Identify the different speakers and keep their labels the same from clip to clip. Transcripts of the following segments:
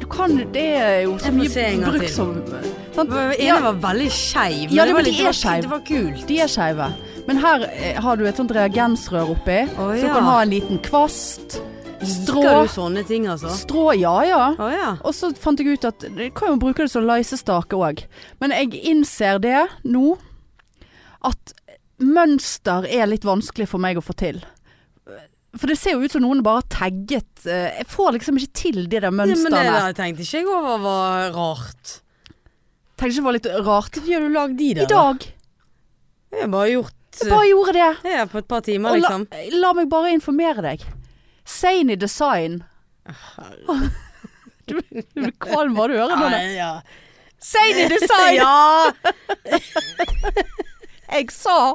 Speaker 1: du kan, Det er jo så
Speaker 2: Jeg får se
Speaker 1: mye
Speaker 2: en gang
Speaker 1: bruk
Speaker 2: til.
Speaker 1: som sant?
Speaker 2: Den ene
Speaker 1: Ja,
Speaker 2: var veldig skeiv, men
Speaker 1: Ja, det-
Speaker 2: det, var
Speaker 1: men de
Speaker 2: litt,
Speaker 1: er
Speaker 2: det, var,
Speaker 1: skeiv.
Speaker 2: det var kult.
Speaker 1: de er skeive. Men her eh, har du et sånt reagensrør oppi,
Speaker 2: Å,
Speaker 1: så du
Speaker 2: ja.
Speaker 1: kan ha en liten kvast. Strå.
Speaker 2: Liker du sånne ting, altså?
Speaker 1: Strå, ja ja.
Speaker 2: Å ja.
Speaker 1: Og så fant jeg ut at jeg kan jo bruke det som leisestake òg. Men jeg innser det nå, at mønster er litt vanskelig for meg å få til. For det ser jo ut som noen bare har tagget eh, Jeg får liksom ikke til de der
Speaker 2: ja. Men
Speaker 1: mønstrene.
Speaker 2: det der tenkte ikke jeg over var rart.
Speaker 1: Tenker ikke det var litt rart.
Speaker 2: Hvorfor har du lagd de
Speaker 1: I
Speaker 2: der?
Speaker 1: dag.
Speaker 2: Jeg har bare gjort
Speaker 1: Jeg bare gjorde det.
Speaker 2: det er på et par timer,
Speaker 1: Og la,
Speaker 2: liksom.
Speaker 1: la meg bare informere deg. Sane design. Du, du blir kvalm av å høre det.
Speaker 2: Nei, ja.
Speaker 1: Sane design!
Speaker 2: Ja.
Speaker 1: Jeg sa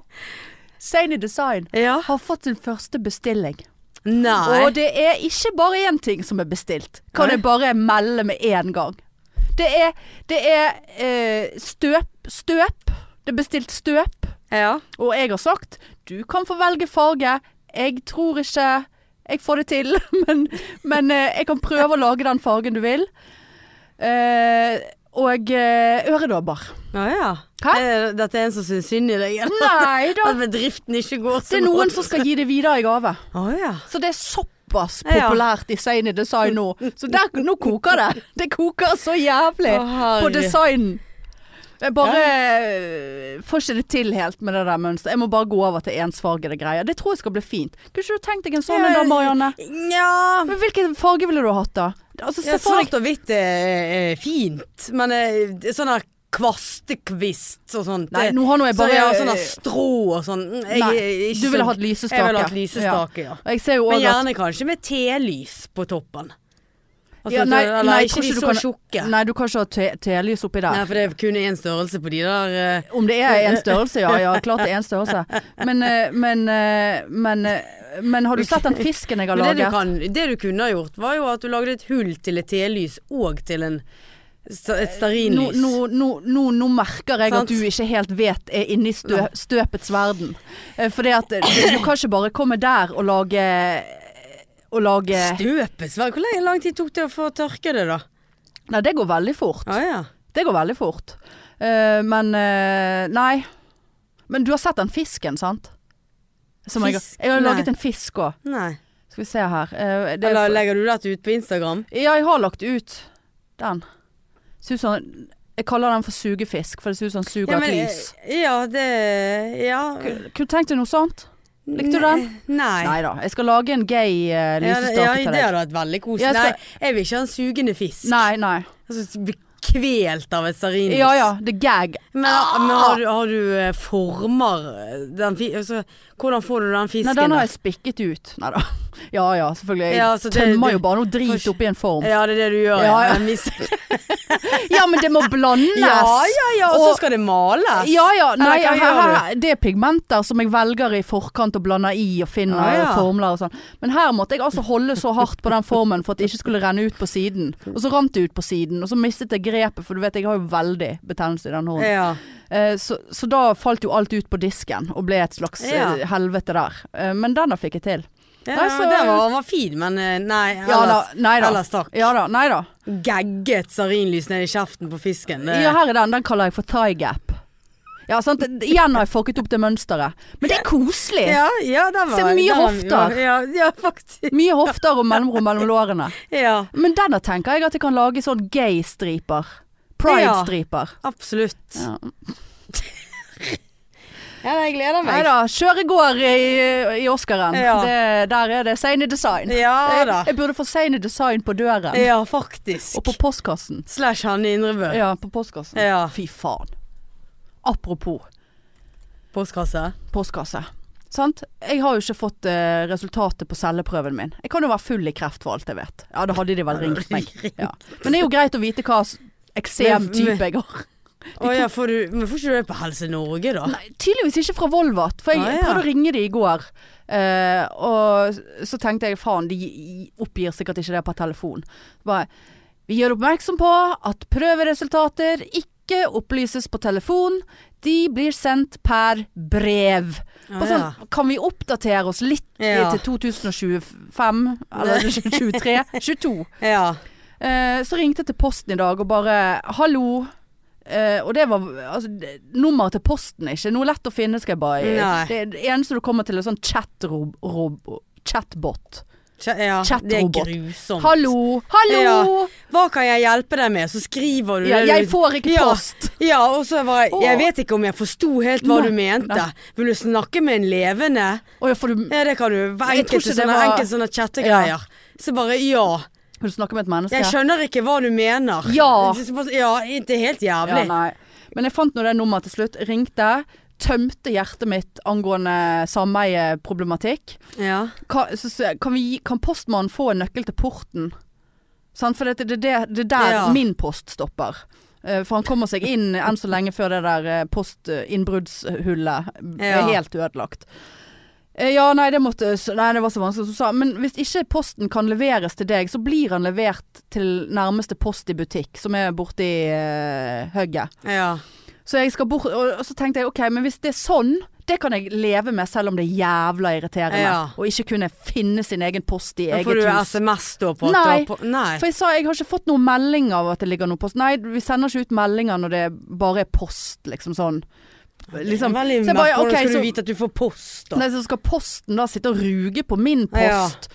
Speaker 1: Sane design.
Speaker 2: ja.
Speaker 1: har fått sin første bestilling.
Speaker 2: Nei.
Speaker 1: Og det er ikke bare én ting som er bestilt. Kan
Speaker 2: Nei.
Speaker 1: jeg bare melde med en gang. Det er, det er eh, støp, støp. Det er bestilt støp.
Speaker 2: Ja.
Speaker 1: Og jeg har sagt du kan få velge farge. Jeg tror ikke jeg får det til, men, men eh, jeg kan prøve å lage den fargen du vil. Eh, og eh, øredobber.
Speaker 2: Å ja.
Speaker 1: Hæ?
Speaker 2: Er- Dette er en som syns synd i deg, eller?
Speaker 1: Nei da.
Speaker 2: At bedriften ikke går
Speaker 1: Det er noen som skal gi det videre i gave.
Speaker 2: Å ja.
Speaker 1: Så det er såpass
Speaker 2: Ja.
Speaker 1: populært i Sane Design nå. Så der, nå koker det. Det koker så jævlig
Speaker 2: Å, herre.
Speaker 1: på designen. Jeg bare øh, får ikke det til helt med det der mønsteret. Jeg må bare gå over til ensfargede greier. Det tror jeg skal bli fint. Kunne ikke du tenkt deg en sånn en da, Marianne?
Speaker 2: Nja
Speaker 1: Men Hvilken farge ville du hatt da? Altså, se
Speaker 2: ja,
Speaker 1: for deg
Speaker 2: Svart og hvitt er, er fint, men eh, det er sånn der kvastekvist og sånt
Speaker 1: Nei,
Speaker 2: det-
Speaker 1: nå har nå jeg
Speaker 2: så
Speaker 1: bare-
Speaker 2: ja, Sånn der strå og sånn. Mm, Jeg,
Speaker 1: Nei,
Speaker 2: er ikke
Speaker 1: du ville
Speaker 2: sånn-
Speaker 1: hatt lysestake.
Speaker 2: Jeg ville hatt lysestake, ja.
Speaker 1: Jeg ser jo
Speaker 2: Men
Speaker 1: òg at
Speaker 2: gjerne kanskje med telys på toppen. Altså,
Speaker 1: Ja, nei,
Speaker 2: eller
Speaker 1: nei, jeg
Speaker 2: ikke
Speaker 1: tror
Speaker 2: de
Speaker 1: ikke
Speaker 2: så
Speaker 1: du
Speaker 2: tjukke.
Speaker 1: Nei, du kan ikke ha te- telys oppi der.
Speaker 2: Nei, for det er kun én størrelse på de der. eh,
Speaker 1: Om det er én størrelse, ja. ja klart det er én størrelse. Men, eh, men, eh, men, eh, men har du sett den fisken jeg har
Speaker 2: Men det du,
Speaker 1: laget?
Speaker 2: kan, det du kunne ha gjort, var jo at du lagde et hull til et telys og til en, sta- et
Speaker 1: Nå,
Speaker 2: stearinlys.
Speaker 1: nå, nå, nå, nå merker jeg
Speaker 2: Sant?
Speaker 1: at du ikke helt vet er inne i stø, støpets verden. For det at eh, du du kan ikke bare komme der og lage og lage
Speaker 2: Støpes, vel? Hvor lenge- lang tid tok det å få tørke det, da?
Speaker 1: Nei, det går veldig fort.
Speaker 2: Ah, ja.
Speaker 1: Det går veldig fort. Eh, men eh, Nei. Men du har sett den fisken, sant? Som jeg,
Speaker 2: Fisk?
Speaker 1: jeg har
Speaker 2: Nei.
Speaker 1: laget en fisk òg.
Speaker 2: Nei.
Speaker 1: Skal vi se her. Eh, det er
Speaker 2: Eller
Speaker 1: for-
Speaker 2: legger du dette ut på Instagram?
Speaker 1: Ja, jeg har lagt ut den. Ser ut som Jeg kaller den for sugefisk, for det ser ut som han suger et
Speaker 2: eh,
Speaker 1: lys.
Speaker 2: Ja, det Ja.
Speaker 1: Kunne du tenkt deg noe sånt? Likte du den?
Speaker 2: Nei.
Speaker 1: Nei da. Jeg skal lage en gay uh,
Speaker 2: Ja, det- ja,
Speaker 1: lysestake til
Speaker 2: det
Speaker 1: deg.
Speaker 2: hadde vært veldig koselig.
Speaker 1: Jeg skal-
Speaker 2: Nei, jeg vil ikke ha en sugende fisk.
Speaker 1: Nei, nei.
Speaker 2: Altså, bli kvelt av et stearinlys.
Speaker 1: Ja ja, Ah! det er gag.
Speaker 2: Men, men har, du, har du eh, former eh, den fi, altså, Hvordan får du den fisken?
Speaker 1: Nei, den
Speaker 2: da?
Speaker 1: har jeg spikket ut. Nei da. Ja ja, selvfølgelig. Jeg
Speaker 2: Ja, altså, det-
Speaker 1: tømmer
Speaker 2: det-
Speaker 1: jo bare noe drit
Speaker 2: for- Eh.
Speaker 1: oppi en form.
Speaker 2: Ja, det er det du gjør.
Speaker 1: Ja, ja.
Speaker 2: Jeg mister-
Speaker 1: Ja, men det må blandes.
Speaker 2: Og så
Speaker 1: Og-
Speaker 2: skal det males.
Speaker 1: Ja ja, nei,
Speaker 2: Eller hva
Speaker 1: her,
Speaker 2: gjør
Speaker 1: her, det er pigmenter som jeg velger i forkant og blander i og finner
Speaker 2: Ah, ja.
Speaker 1: og formler og sånn. Men her måtte jeg altså holde så hardt på den formen for at det ikke skulle renne ut på siden. Og så rant det ut på siden, og så mistet jeg grepet, for du vet jeg har jo veldig betennelse i den hånden.
Speaker 2: Ja.
Speaker 1: Eh, så, så da falt jo alt ut på disken og ble et slags
Speaker 2: Ja.
Speaker 1: eh, helvete der. Eh, men den da fikk jeg til.
Speaker 2: ja
Speaker 1: Nei, så-
Speaker 2: det var, var fin, men eh, nei. Ellers,
Speaker 1: Ja da, nei da.
Speaker 2: ellers takk.
Speaker 1: Ja da, nei da.
Speaker 2: Gagget stearinlys ned i kjeften på fisken. eh. Det,
Speaker 1: Ja, her er den. Den kaller jeg for thigh gap. Ja, sant. Igjen har jeg fucket opp det mønsteret. Men det er koselig.
Speaker 2: ja, ja, den var
Speaker 1: Se, mye
Speaker 2: den var-
Speaker 1: hofter.
Speaker 2: Ja, ja, faktisk.
Speaker 1: Mye hofter og mellomrom mellom lårene.
Speaker 2: Ja,
Speaker 1: Men denne tenker jeg at jeg kan lage sånn gay-striper. Pride-striper.
Speaker 2: absolutt.
Speaker 1: Ja.
Speaker 2: Ja, nei, jeg gleder
Speaker 1: Nei da, kjør i går i, i Oscaren.
Speaker 2: Ja.
Speaker 1: Det, der er det Sane Design.
Speaker 2: Ja da.
Speaker 1: jeg, jeg burde få Sane Design på døren.
Speaker 2: Ja, faktisk.
Speaker 1: Og på postkassen.
Speaker 2: Slash Hanne Indrebø.
Speaker 1: Ja, på postkassen.
Speaker 2: Ja.
Speaker 1: Fy faen. Apropos
Speaker 2: Postkasse.
Speaker 1: postkasse. Sant? Jeg har jo ikke fått eh, resultatet på celleprøven min. Jeg kan jo være full i kreft for alt jeg vet. Ja, da hadde de vel ringt meg. Ja. Men det er jo greit å vite hva s- eksemtype jeg har.
Speaker 2: Å ja, får du, men får ikke du det på Helse Norge, da?
Speaker 1: Nei, tydeligvis ikke fra Volvat, for jeg
Speaker 2: Ah, ja.
Speaker 1: prøvde å ringe de i går. eh, og så tenkte jeg faen, de gi- oppgir sikkert ikke det per telefon. Bare, vi gjør oppmerksom på at prøveresultater ikke opplyses på telefon. De blir sendt per brev.
Speaker 2: Ah,
Speaker 1: Bare
Speaker 2: ja.
Speaker 1: sånn, kan vi oppdatere oss litt
Speaker 2: Ja.
Speaker 1: til 2025? Eller 23? 22?
Speaker 2: Ja.
Speaker 1: Eh, så ringte jeg til Posten i dag og bare 'hallo'. Eh, og det var altså, det- Nummeret til Posten er ikke noe lett å finne, skal jeg bare
Speaker 2: Nei.
Speaker 1: Det, er det eneste du kommer til, er sånn chat-rob... rob- Chatbot.
Speaker 2: Kje- Ja, det er
Speaker 1: Chatrobot.
Speaker 2: grusomt.
Speaker 1: Hallo! Hallo!
Speaker 2: Hva kan jeg hjelpe deg med? Så skriver du
Speaker 1: Ja,
Speaker 2: det du-
Speaker 1: jeg får ikke
Speaker 2: Ja.
Speaker 1: post.
Speaker 2: Ja, og så var jeg
Speaker 1: Åh.
Speaker 2: Jeg vet ikke om jeg forsto helt hva
Speaker 1: Nei,
Speaker 2: du mente.
Speaker 1: nei.
Speaker 2: Vil du snakke med en levende?
Speaker 1: Å ja, får du,
Speaker 2: Ja, det kan du.
Speaker 1: Jeg tror
Speaker 2: Enkelte
Speaker 1: ikke det
Speaker 2: sånne,
Speaker 1: var-
Speaker 2: enkelte sånne chattegreier. Så bare ja.
Speaker 1: vil du snakke med et menneske?
Speaker 2: Jeg skjønner ikke hva du mener.
Speaker 1: Ja.
Speaker 2: Det er bare- ja det er helt
Speaker 1: Ja,
Speaker 2: jævlig.
Speaker 1: nei. Men jeg fant nå det nummeret til slutt. Ringte. Tømte hjertet mitt angående sameieproblematikk.
Speaker 2: Ja.
Speaker 1: Kan, så, så, kan, vi, gi- kan postmannen få en nøkkel til porten? Sant? For det, det, det, det er der
Speaker 2: Ja.
Speaker 1: min post stopper. Eh, For han kommer seg inn enn så lenge før det der eh, postinnbruddshullet er
Speaker 2: Ja.
Speaker 1: helt ødelagt. Eh, Ja, nei det, måtte, så- nei, det var så vanskelig som du sa. Men hvis ikke posten kan leveres til deg, så blir han levert til nærmeste post i butikk, som er borti uh, hugget.
Speaker 2: ja.
Speaker 1: Så jeg skal bort, og og så tenkte jeg ok, men hvis det er sånn, det kan jeg leve med selv om det er jævla irriterende.
Speaker 2: Ja.
Speaker 1: Og ikke kunne finne sin egen post i
Speaker 2: Da får
Speaker 1: eget
Speaker 2: du
Speaker 1: hus.
Speaker 2: SMS da på at du
Speaker 1: Nei.
Speaker 2: har på Nei.
Speaker 1: For jeg sa jeg har ikke fått noen melding av at det ligger noe post. Nei, vi sender ikke ut meldinger når det bare er post, liksom sånn. Liksom.
Speaker 2: Veldig
Speaker 1: Så jeg bare,
Speaker 2: merkelig. Hvordan
Speaker 1: ok,
Speaker 2: skal
Speaker 1: så-
Speaker 2: du vite at du får post, da?
Speaker 1: Nei, så skal posten da sitte og ruge på min
Speaker 2: Ja,
Speaker 1: post.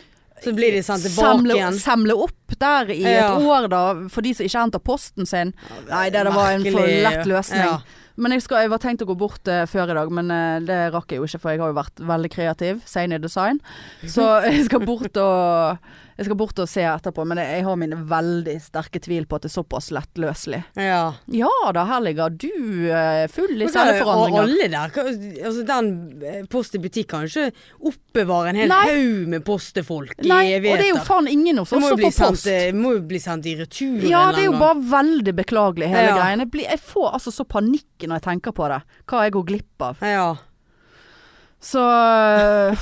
Speaker 2: Så blir de sendt tilbake
Speaker 1: Samle,
Speaker 2: igjen.
Speaker 1: samle opp der i
Speaker 2: Ja.
Speaker 1: et år da, for de som ikke henter posten sin. Nei, det, det var en for
Speaker 2: Merkelig.
Speaker 1: lett løsning.
Speaker 2: Ja.
Speaker 1: Men jeg, skal, jeg var tenkt å gå bort eh, før i dag, men eh, det rakk jeg jo ikke, for jeg har jo vært veldig kreativ. Sein i design. Så jeg skal bort og, jeg skal bort og se etterpå. Men jeg har mine veldig sterke tvil på at det er såpass lettløselig.
Speaker 2: ja.
Speaker 1: Ja da, her ligger du eh, full i
Speaker 2: Men hva er- Og
Speaker 1: celleforandringer.
Speaker 2: alle der, hva- altså den eh, post i butikk kan jo ikke oppbevare en hel
Speaker 1: Nei.
Speaker 2: haug med post til folk i
Speaker 1: Nei, og
Speaker 2: evigheter.
Speaker 1: det er jo faen ingen hos
Speaker 2: Det
Speaker 1: oss
Speaker 2: må jo
Speaker 1: som
Speaker 2: bli
Speaker 1: får
Speaker 2: sendt,
Speaker 1: post.
Speaker 2: eh, må jo bli sendt i retur en
Speaker 1: Ja,
Speaker 2: eller
Speaker 1: det er jo
Speaker 2: annen gang.
Speaker 1: bare veldig beklagelig
Speaker 2: Ja.
Speaker 1: hele greien. Jeg, blir, jeg får altså så panikk når jeg tenker på det. Hva jeg går glipp av.
Speaker 2: ja.
Speaker 1: Så øh,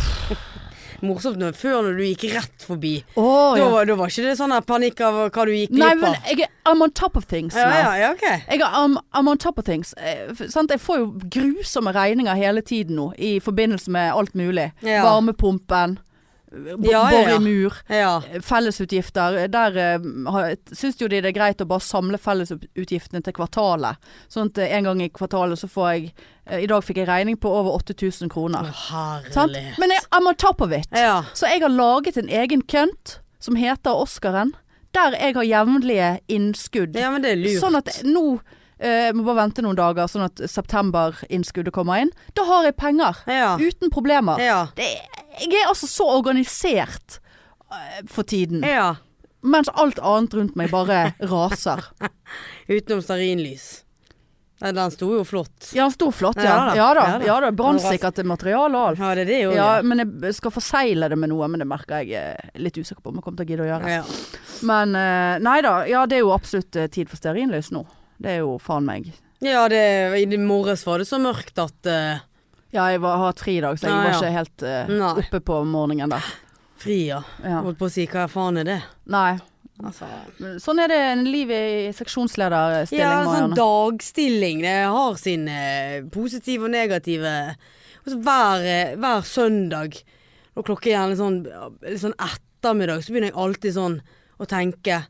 Speaker 2: Morsomt når, før når du gikk rett forbi.
Speaker 1: Å
Speaker 2: Da,
Speaker 1: ja.
Speaker 2: var- da var ikke det sånn her panikk av hva du gikk
Speaker 1: Nei,
Speaker 2: glipp
Speaker 1: men
Speaker 2: av.
Speaker 1: jeg er I'm on top of things
Speaker 2: Ja,
Speaker 1: now.
Speaker 2: ja, ja, ok.
Speaker 1: Jeg er I'm, I'm on top of things. Eh, f- sant? Jeg får jo grusomme regninger hele tiden nå i forbindelse med alt mulig.
Speaker 2: Ja.
Speaker 1: Varmepumpen, b-
Speaker 2: Ja, ja,
Speaker 1: bor
Speaker 2: ja.
Speaker 1: i mur. eh,
Speaker 2: Ja.
Speaker 1: Fellesutgifter. Eh, Der uh, syns jo de det er greit å bare samle fellesutgiftene til kvartalet. Sånn at eh, en gang i kvartalet så får jeg eh, I dag fikk jeg regning på over 8000
Speaker 2: Å,
Speaker 1: kroner. Sant?
Speaker 2: herlighet.
Speaker 1: Men jeg, I'm on top of it.
Speaker 2: Ja.
Speaker 1: Så jeg har laget en egen kønt som heter Oscaren. Der jeg har jevnlige innskudd.
Speaker 2: ja, men det er lurt.
Speaker 1: sånn at nå eh, må bare vente noen dager, sånn at september-innskuddet kommer inn. Da har jeg penger.
Speaker 2: ja.
Speaker 1: Uten problemer.
Speaker 2: Ja.
Speaker 1: Det, jeg er altså så organisert eh, for tiden.
Speaker 2: ja.
Speaker 1: Mens alt annet rundt meg bare raser.
Speaker 2: Utenom stearinlys. Nei, Den sto jo flott.
Speaker 1: Ja, han sto flott, ja. Ja da. Ja da. Brannsikkert materiale og alt.
Speaker 2: Ja, det er det jo.
Speaker 1: Ja, men jeg skal forsegle det med noe, men det merker jeg eh, er litt usikker på om jeg kommer til å gidde å gjøre.
Speaker 2: ja.
Speaker 1: Men eh, nei da, ja det er jo absolutt eh, tid for stearinlys nå. Det er jo faen meg.
Speaker 2: Ja, det, i det morges var det så mørkt at eh,
Speaker 1: Ja, jeg var, har hatt fri i dag, så jeg
Speaker 2: Ja,
Speaker 1: var
Speaker 2: ja.
Speaker 1: ikke helt eh,
Speaker 2: Nei.
Speaker 1: oppe på morgenen der.
Speaker 2: Fri, ja.
Speaker 1: Ja.
Speaker 2: Holdt på å si hva faen er det?
Speaker 1: Nei.
Speaker 2: Altså,
Speaker 1: Men Sånn er det en liv i seksjonslederstilling,
Speaker 2: ja, sånn
Speaker 1: Marianne.
Speaker 2: dagstilling. Det har sine positive og negative Og så hver, eh, hver søndag, når klokka er gjerne sånn, litt sånn ettermiddag, så begynner jeg alltid sånn å tenke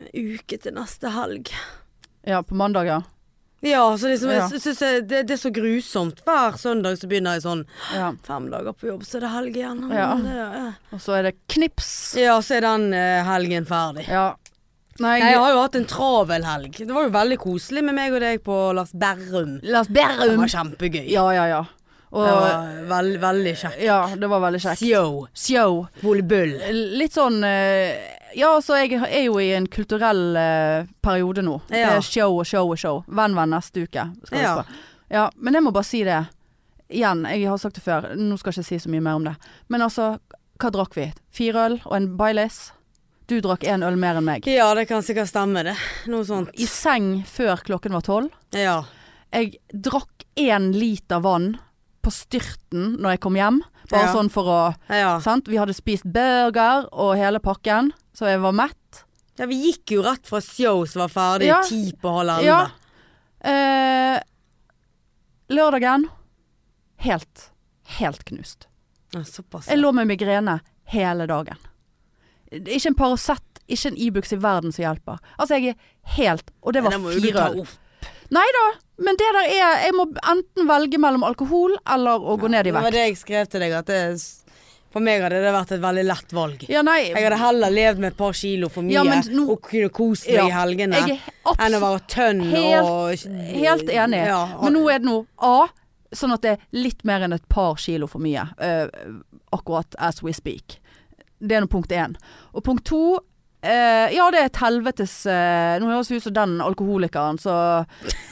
Speaker 2: «En Uke til neste helg.
Speaker 1: ja, på mandag, ja.
Speaker 2: Ja, så liksom,
Speaker 1: Ja.
Speaker 2: jeg sy- syns jeg- det, det er så grusomt. Hver søndag så begynner jeg sånn
Speaker 1: ja.
Speaker 2: Fem dager på jobb, så er det helg igjen.
Speaker 1: Ja.
Speaker 2: Det, ja.
Speaker 1: Og så er det knips.
Speaker 2: ja, så er den eh, helgen ferdig.
Speaker 1: Ja. Nei,
Speaker 2: Nei, Jeg har jo hatt en travel helg. Det var jo veldig koselig med meg og deg på Lars Berrum.
Speaker 1: Lars
Speaker 2: Det
Speaker 1: Berrum.
Speaker 2: var kjempegøy.
Speaker 1: Ja, ja, ja. Og
Speaker 2: Det var veld, veldig kjekt.
Speaker 1: ja, det var veldig kjekt.
Speaker 2: Sjo.
Speaker 1: Sjo.
Speaker 2: Ole Bull.
Speaker 1: Litt sånn eh, Ja, altså jeg er jo i en kulturell eh, periode nå. Det
Speaker 2: Ja.
Speaker 1: er show og show og show. Venn, venn neste uke. Skal vi
Speaker 2: Ja.
Speaker 1: på. ja, men jeg må bare si det igjen. Jeg har sagt det før, nå skal jeg ikke si så mye mer om det. Men altså, hva drakk vi? Fire øl og en Baileys? Du drakk én øl mer enn meg.
Speaker 2: Ja, det kan sikkert stemme, det. Noe sånt.
Speaker 1: I seng før klokken var tolv.
Speaker 2: Ja.
Speaker 1: Jeg drakk én liter vann på styrten når jeg kom hjem. Bare
Speaker 2: Ja.
Speaker 1: sånn for å
Speaker 2: ja.
Speaker 1: Sant? Vi hadde spist burger og hele pakken, så jeg var mett.
Speaker 2: Ja, vi gikk jo rett fra show som var ferdig
Speaker 1: Ja.
Speaker 2: ti på halv elleve.
Speaker 1: Ja. Eh, lørdagen helt, helt knust.
Speaker 2: Ja, såpass.
Speaker 1: Jeg lå med migrene hele dagen. Det er Ikke en Paracet ikke en Ibux i verden som hjelper. Altså, jeg er helt Og det var
Speaker 2: må jo du
Speaker 1: fire
Speaker 2: ta
Speaker 1: øl.
Speaker 2: opp.
Speaker 1: Nei da, men det der er Jeg må enten velge mellom alkohol eller å gå ned i
Speaker 2: Det var
Speaker 1: vekt.
Speaker 2: det jeg skrev til deg, at det, for meg hadde det vært et veldig lett valg.
Speaker 1: Ja, nei.
Speaker 2: Jeg hadde heller levd med et par kilo for mye
Speaker 1: Ja, men nå-
Speaker 2: og kunne kost meg
Speaker 1: Ja.
Speaker 2: i helgene
Speaker 1: Jeg er
Speaker 2: enn å
Speaker 1: absolutt
Speaker 2: være tønn
Speaker 1: Helt-
Speaker 2: og
Speaker 1: helt enig.
Speaker 2: Ja,
Speaker 1: Men nå er det nå A, sånn at det er litt mer enn et par kilo for mye. eh, akkurat as we speak. Det er nå punkt én. Og punkt to eh, ja, det er et helvetes eh, Nå høres vi ut som den alkoholikeren som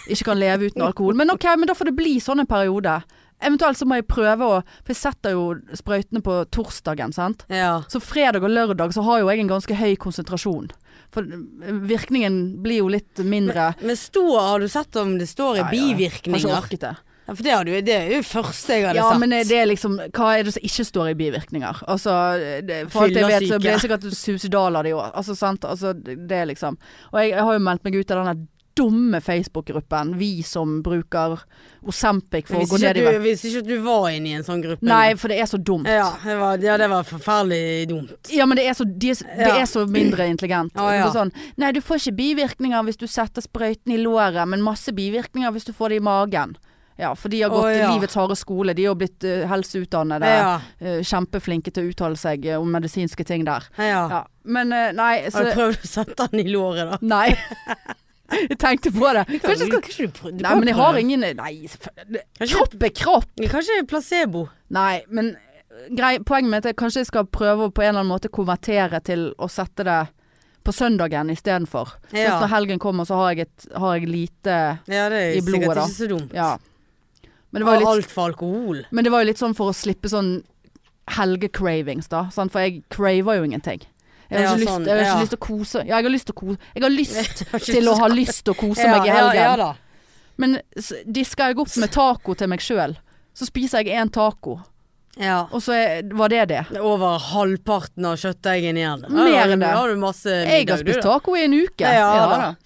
Speaker 1: ikke kan leve uten alkohol. Men ok, men da får det bli sånn en periode. Eventuelt så må jeg prøve å For jeg setter jo sprøytene på torsdagen, sant.
Speaker 2: ja.
Speaker 1: Så fredag og lørdag så har jo jeg en ganske høy konsentrasjon. For eh, virkningen blir jo litt mindre.
Speaker 2: Men står, har du sett om det står i
Speaker 1: Nei, jeg Har ikke
Speaker 2: bivirkninger?
Speaker 1: orket det.
Speaker 2: Ja, for det, har du, det er jo første jeg hadde
Speaker 1: Ja,
Speaker 2: sett.
Speaker 1: men er det er liksom Hva er det som ikke står i bivirkninger? Altså, det, for alt jeg vet, så
Speaker 2: Fyllesyke.
Speaker 1: blir det sikkert suicidal av de òg. Altså, sant. Altså, det er liksom Og jeg, jeg har jo meldt meg ut av den der dumme Facebook-gruppen, vi som bruker Osempic for å
Speaker 2: hvis,
Speaker 1: gå
Speaker 2: ikke
Speaker 1: ned i
Speaker 2: du,
Speaker 1: vekt.
Speaker 2: hvis ikke du var inne i en sånn gruppe
Speaker 1: Nei, for det er så dumt.
Speaker 2: Ja, det var, ja, det var forferdelig dumt.
Speaker 1: Ja, men det er så, de er, så- det
Speaker 2: Ja.
Speaker 1: er så mindre intelligent.
Speaker 2: Ja, ja.
Speaker 1: Det er Sånn, nei, du får ikke bivirkninger hvis du setter sprøyten i låret, men masse bivirkninger hvis du får det i magen. Ja, for de har gått
Speaker 2: Å, ja.
Speaker 1: i livets harde skole. De har blitt eh, helseutdannede.
Speaker 2: Ja,
Speaker 1: eh, kjempeflinke til å uttale seg eh, om medisinske ting der.
Speaker 2: ja.
Speaker 1: Ja. Men eh, nei, så
Speaker 2: Har du prøvd å sette den i låret, da?
Speaker 1: Nei. jeg tenkte på det. Kanskje jeg skal
Speaker 2: Kanskje du prøv- du
Speaker 1: Nei,
Speaker 2: kan
Speaker 1: men jeg
Speaker 2: prøve.
Speaker 1: har ingen eh, Nei, selvfølgelig.
Speaker 2: Kanskje-
Speaker 1: Kropp er kropp.
Speaker 2: Kanskje placebo.
Speaker 1: Nei, men eh, grei, poenget mitt er at kanskje jeg skal prøve å på en eller annen måte konvertere til å sette det på søndagen istedenfor. Sånn
Speaker 2: Ja.
Speaker 1: at når helgen kommer, så har jeg, et, har jeg lite
Speaker 2: Ja, det er
Speaker 1: I blodet,
Speaker 2: sikkert
Speaker 1: da.
Speaker 2: ikke så dumt.
Speaker 1: Ja. Men det var jo litt
Speaker 2: Alt for alkohol.
Speaker 1: Men det var jo litt sånn for å slippe sånn helgecravings, da. Sant? For jeg craver jo ingenting. Jeg har
Speaker 2: Ja,
Speaker 1: ikke, lyst,
Speaker 2: sånn,
Speaker 1: jeg har ikke
Speaker 2: ja.
Speaker 1: lyst til å kose. Ja, jeg har lyst til å kose. Jeg har lyst
Speaker 2: Jeg har ikke
Speaker 1: til å
Speaker 2: lyst
Speaker 1: ha lyst til å kose meg i helgen.
Speaker 2: Ja, ja da.
Speaker 1: Men s- disker jeg opp med taco til meg sjøl, så spiser jeg én taco,
Speaker 2: Ja.
Speaker 1: og så er, var det det.
Speaker 2: Det er Over halvparten av kjøttdeigen igjen. Ja, da
Speaker 1: Mer
Speaker 2: har du-
Speaker 1: enn det.
Speaker 2: Da har du masse
Speaker 1: Jeg har
Speaker 2: middag, du,
Speaker 1: spist
Speaker 2: da.
Speaker 1: taco i en uke.
Speaker 2: Ja, da.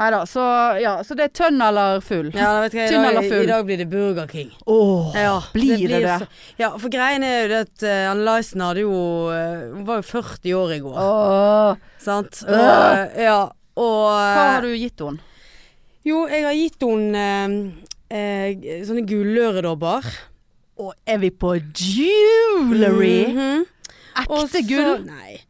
Speaker 1: Nei da, så, ja, så det er tønn eller full.
Speaker 2: Ja, da vet du hva, i
Speaker 1: Tynn
Speaker 2: dag-
Speaker 1: eller full?
Speaker 2: I dag blir det Burger King.
Speaker 1: Åh,
Speaker 2: Ja,
Speaker 1: blir det det?
Speaker 2: så- Ja, for greien er jo det at uh, Anne Lysen hadde jo eh, Hun var jo 40 år i går,
Speaker 1: åh.
Speaker 2: sant? Og, eh,
Speaker 1: Øh.
Speaker 2: ja, og eh,
Speaker 1: Hva har du gitt henne?
Speaker 2: Jo, jeg har gitt henne eh, eh, sånne gulløredobber.
Speaker 1: Og er vi på jewelry?
Speaker 2: Mhm. Og
Speaker 1: Ekte
Speaker 2: så-
Speaker 1: gull?
Speaker 2: Nei.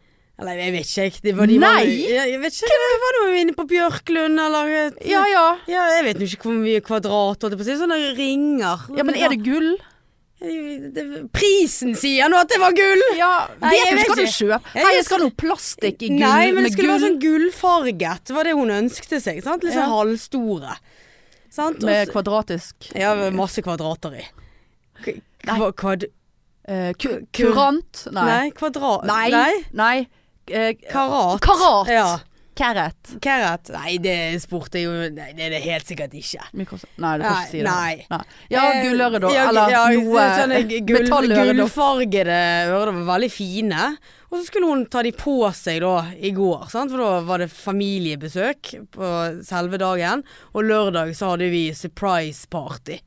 Speaker 2: Eller jeg vet ikke. jeg. Det var de man-
Speaker 1: Nei?
Speaker 2: Ja, jeg vet ikke, det var noe inne på Bjørklund eller eh,
Speaker 1: Ja ja.
Speaker 2: Ja, jeg vet nå ikke hvor mye kvadrat holdt jeg på å si. Sånne ringer.
Speaker 1: Ja, men er det gull?
Speaker 2: det, Prisen sier nå at det var gull!
Speaker 1: Ja,
Speaker 2: Nei, jeg
Speaker 1: vet du,
Speaker 2: vet
Speaker 1: skal du
Speaker 2: ikke.
Speaker 1: kjøpe?
Speaker 2: Jeg
Speaker 1: Hei,
Speaker 2: vet
Speaker 1: jeg skal ha noe plastikk i gull
Speaker 2: Nei, men det
Speaker 1: med
Speaker 2: skulle
Speaker 1: gull
Speaker 2: være sånn gullfarget. Det var det hun ønskte seg. sant? Litt sånn
Speaker 1: Ja.
Speaker 2: halvstore. Sant? Og
Speaker 1: med
Speaker 2: så-
Speaker 1: kvadratisk
Speaker 2: ja, med masse kvadrater i. K- Kva, kvad,
Speaker 1: eh, ku-
Speaker 2: Kur-
Speaker 1: Kurant? Nei.
Speaker 2: nei, kvadrat
Speaker 1: Nei. Nei. Eh,
Speaker 2: Karat.
Speaker 1: Karat.
Speaker 2: Ja.
Speaker 1: Carrot.
Speaker 2: Carrot? Nei, det spurte jeg jo Nei, det er det helt sikkert ikke.
Speaker 1: Mikros- Nei, du kan
Speaker 2: Nei,
Speaker 1: ikke si det.
Speaker 2: nei.
Speaker 1: Ja,
Speaker 2: Eh,
Speaker 1: gulløre, da.
Speaker 2: ja,
Speaker 1: Eller
Speaker 2: ja,
Speaker 1: noe
Speaker 2: sånne gull,
Speaker 1: metalløre, da.
Speaker 2: Gullfargede ører var veldig fine. Og så skulle hun ta de på seg da i går, sant? for da var det familiebesøk på selve dagen. Og lørdag så hadde vi surprise party.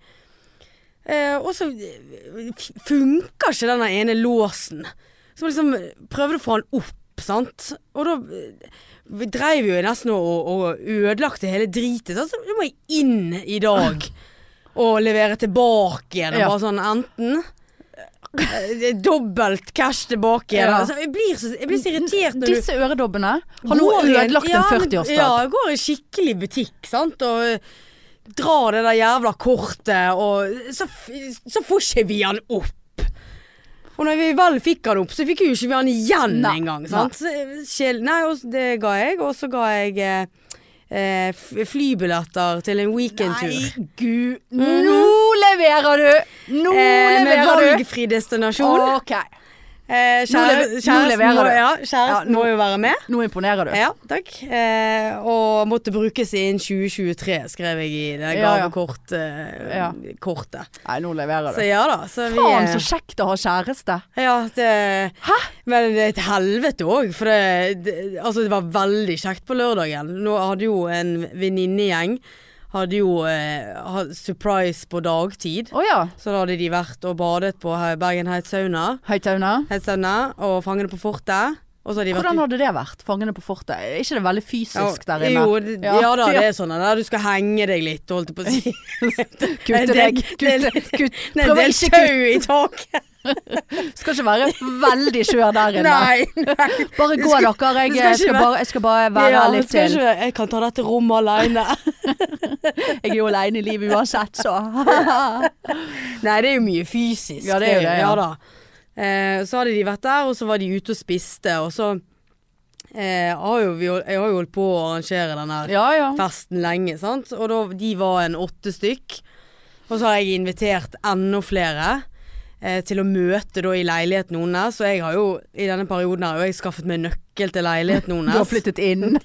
Speaker 2: Eh, og så eh, f- funker ikke den der ene låsen. Så liksom prøvde å få han opp, sant. Og da eh, vi dreiv jo nesten og, og ødelagte hele dritet. sant? Så du må jeg inn i dag og levere tilbake igjen. Og
Speaker 1: Ja.
Speaker 2: bare sånn enten eh, det er Dobbelt cash tilbake igjen.
Speaker 1: Ja.
Speaker 2: Altså, jeg, blir så, jeg blir så irritert når du
Speaker 1: Disse øredobbene har nå
Speaker 2: går i
Speaker 1: ødelagt en
Speaker 2: ja, men-
Speaker 1: 40-årsdag.
Speaker 2: Ja, jeg går i skikkelig butikk, sant. Og eh, drar det der jævla kortet, og så, f- så får ikke vi han opp. Og når vi vel fikk han opp, så fikk jo ikke vi han igjen
Speaker 1: Nei,
Speaker 2: engang. Sant? Så, eh, Sjel, nei, og s- det ga jeg. Og så ga jeg eh, eh, f- flybilletter til en weekendtur.
Speaker 1: Nei, gud. Nå leverer du! Nå
Speaker 2: Eh, med
Speaker 1: leverer du!
Speaker 2: valgfri destinasjon.
Speaker 1: Ok.
Speaker 2: Eh,
Speaker 1: Nå
Speaker 2: kjære,
Speaker 1: le- nå
Speaker 2: kjæresten,
Speaker 1: leverer
Speaker 2: må,
Speaker 1: du.
Speaker 2: ja, kjæresten
Speaker 1: Ja,
Speaker 2: må jo være med.
Speaker 1: Nå imponerer du.
Speaker 2: Ja, takk. Eh, og måtte brukes innen 2023, skrev jeg i det
Speaker 1: Ja, ja.
Speaker 2: gavekortet. Eh,
Speaker 1: Ja.
Speaker 2: kortet.
Speaker 1: Nei, nå leverer
Speaker 2: Så
Speaker 1: du.
Speaker 2: ja da. Så vi,
Speaker 1: Faen, så
Speaker 2: eh,
Speaker 1: kjekt å ha kjæreste.
Speaker 2: ja, det, Men det er et helvete òg, for det, det, altså det var veldig kjekt på lørdagen. Nå hadde jo en venninnegjeng Hadde jo eh, ha- surprise på dagtid.
Speaker 1: Å ja.
Speaker 2: Så da hadde de vært og badet på Bergen Heights sauna.
Speaker 1: Høytaune.
Speaker 2: Heights sauna og Fangene på fortet. Og så har de vært
Speaker 1: Hvordan hadde det vært? Fangene på fortet? Er ikke det veldig fysisk der inne?
Speaker 2: Jo, det, ja. da, det er sånn der du skal henge deg litt, holdt jeg på å si.
Speaker 1: Kutte
Speaker 2: Det er en
Speaker 1: deg.
Speaker 2: del-
Speaker 1: Kutte,
Speaker 2: det
Speaker 1: kutt.
Speaker 2: Det er en
Speaker 1: Prøv å
Speaker 2: del
Speaker 1: ikke
Speaker 2: tau i taket.
Speaker 1: Skal ikke være veldig skjør der inne.
Speaker 2: Nei, nei.
Speaker 1: Bare
Speaker 2: Du
Speaker 1: gå
Speaker 2: skal-
Speaker 1: dere.
Speaker 2: du
Speaker 1: Jeg, eh,
Speaker 2: skal ikke
Speaker 1: skal
Speaker 2: være-
Speaker 1: bare, jeg skal bare være
Speaker 2: Ja,
Speaker 1: her
Speaker 2: men
Speaker 1: litt eh,
Speaker 2: skal
Speaker 1: til.
Speaker 2: ikke- Jeg kan ta dette rommet alene.
Speaker 1: Jeg er jo aleine i livet uansett, så.
Speaker 2: Nei, det er jo mye fysisk.
Speaker 1: Ja, det er jo det, ja.
Speaker 2: da. Eh, så hadde de vært der, og så var de ute og spiste, og så eh, har jo vi, hol- Jeg har jo holdt på å arrangere den her
Speaker 1: Ja ja.
Speaker 2: festen lenge, sant. Og da, de var en åtte stykk. Og så har jeg invitert enda flere eh, til å møte da i leiligheten hennes. Og jeg har jo i denne perioden her, og jeg skaffet meg nøkkel til leiligheten
Speaker 1: Du har
Speaker 2: hennes.
Speaker 1: flyttet inn.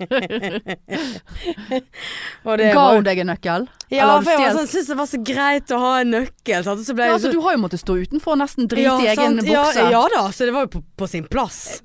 Speaker 2: og det
Speaker 1: Ga
Speaker 2: var-
Speaker 1: hun deg en nøkkel?
Speaker 2: Ja,
Speaker 1: Eller har du
Speaker 2: for jeg var
Speaker 1: stjålet?
Speaker 2: sånn, syntes det var så greit å ha en nøkkel. Sant? Og så ble
Speaker 1: Ja,
Speaker 2: jeg
Speaker 1: altså,
Speaker 2: så
Speaker 1: du har jo måttet stå utenfor og nesten drite i egen
Speaker 2: sant.
Speaker 1: bukse.
Speaker 2: Ja, ja da, så det var jo på, på sin plass.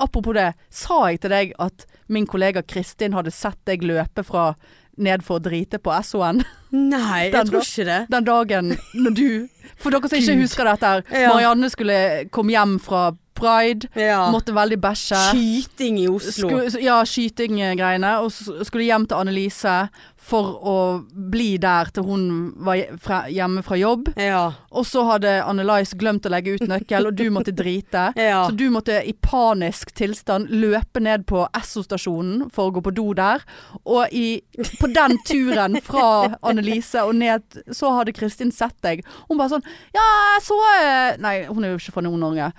Speaker 1: Apropos det, sa jeg til deg at min kollega Kristin hadde sett deg løpe fra ned for å drite på SON
Speaker 2: Nei, jeg
Speaker 1: Den da?
Speaker 2: tror ikke det.
Speaker 1: den dagen når du For dere som ikke
Speaker 2: Gud.
Speaker 1: husker dette, her,
Speaker 2: Ja.
Speaker 1: Marianne skulle komme hjem fra pride,
Speaker 2: Ja.
Speaker 1: måtte veldig bæsje.
Speaker 2: Skyting i Oslo.
Speaker 1: Sku, ja, skytinggreiene. Og så skulle hjem til Annelise for å bli der til hun var hje- fra- hjemme fra jobb.
Speaker 2: ja.
Speaker 1: Og så hadde Annelise glemt å legge ut nøkkel, og du måtte drite.
Speaker 2: Ja.
Speaker 1: Så du måtte i panisk tilstand løpe ned på Esso-stasjonen for å gå på do der. Og i, på den turen fra Annelise og ned, så hadde Kristin sett deg. Hun bare sånn Ja, jeg så eh», Nei, hun er jo ikke fra Nord-Norge.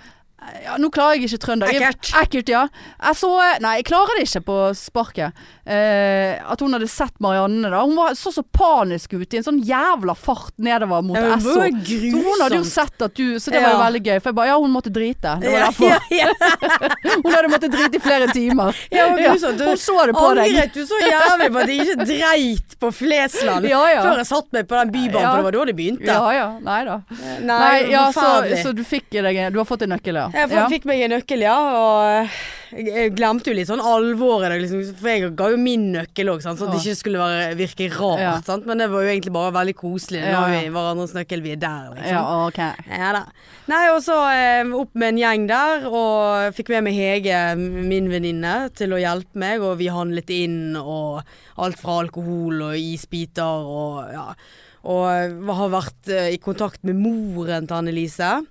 Speaker 1: Ja, nå klarer jeg ikke trønder. Jeg-
Speaker 2: Ekkelt.
Speaker 1: Ekkelt, ja. Jeg så eh, Nei, jeg klarer det ikke på sparket. Eh, at hun hadde sett Marianne, da. Hun var, så så panisk ut i en sånn jævla fart nedover mot
Speaker 2: Ja, men det
Speaker 1: Esso.
Speaker 2: var
Speaker 1: Så hun hadde jo
Speaker 2: grusomt.
Speaker 1: sett at du Så det var jo
Speaker 2: Ja.
Speaker 1: veldig gøy. For jeg bare Ja, hun måtte drite. Det var derfor.
Speaker 2: ja, ja,
Speaker 1: Hun hadde måttet drite i flere timer.
Speaker 2: ja, men grusomt. Du
Speaker 1: hun så det på deg.
Speaker 2: Angret du så jævlig på at jeg ikke dreit på Flesland
Speaker 1: Ja, ja.
Speaker 2: før jeg satt meg på den bybanen,
Speaker 1: Ja.
Speaker 2: for det var da det begynte.
Speaker 1: Ja ja. Nei da.
Speaker 2: Nei,
Speaker 1: Nei, ja, så,
Speaker 2: forferdelig.
Speaker 1: så du fikk deg Du har fått en nøkkel, ja.
Speaker 2: Jeg
Speaker 1: ja.
Speaker 2: fikk meg en nøkkel, ja, og jeg- jeg glemte jo litt sånn alvoret. da, Liksom, for jeg ga jo min nøkkel òg, sånn at det ikke skulle være, virke rart.
Speaker 1: Ja.
Speaker 2: Sant? Men det var jo egentlig bare veldig koselig. Nå
Speaker 1: Ja,
Speaker 2: har
Speaker 1: ja.
Speaker 2: vi hverandres nøkkel, vi er der, liksom.
Speaker 1: Ja, ok.
Speaker 2: Ja da. Nei, og så eh, opp med en gjeng der, og fikk med meg Hege, min venninne, til å hjelpe meg, og vi handlet inn og alt fra alkohol og isbiter og ja. Og har vært eh, i kontakt med moren til Annelise.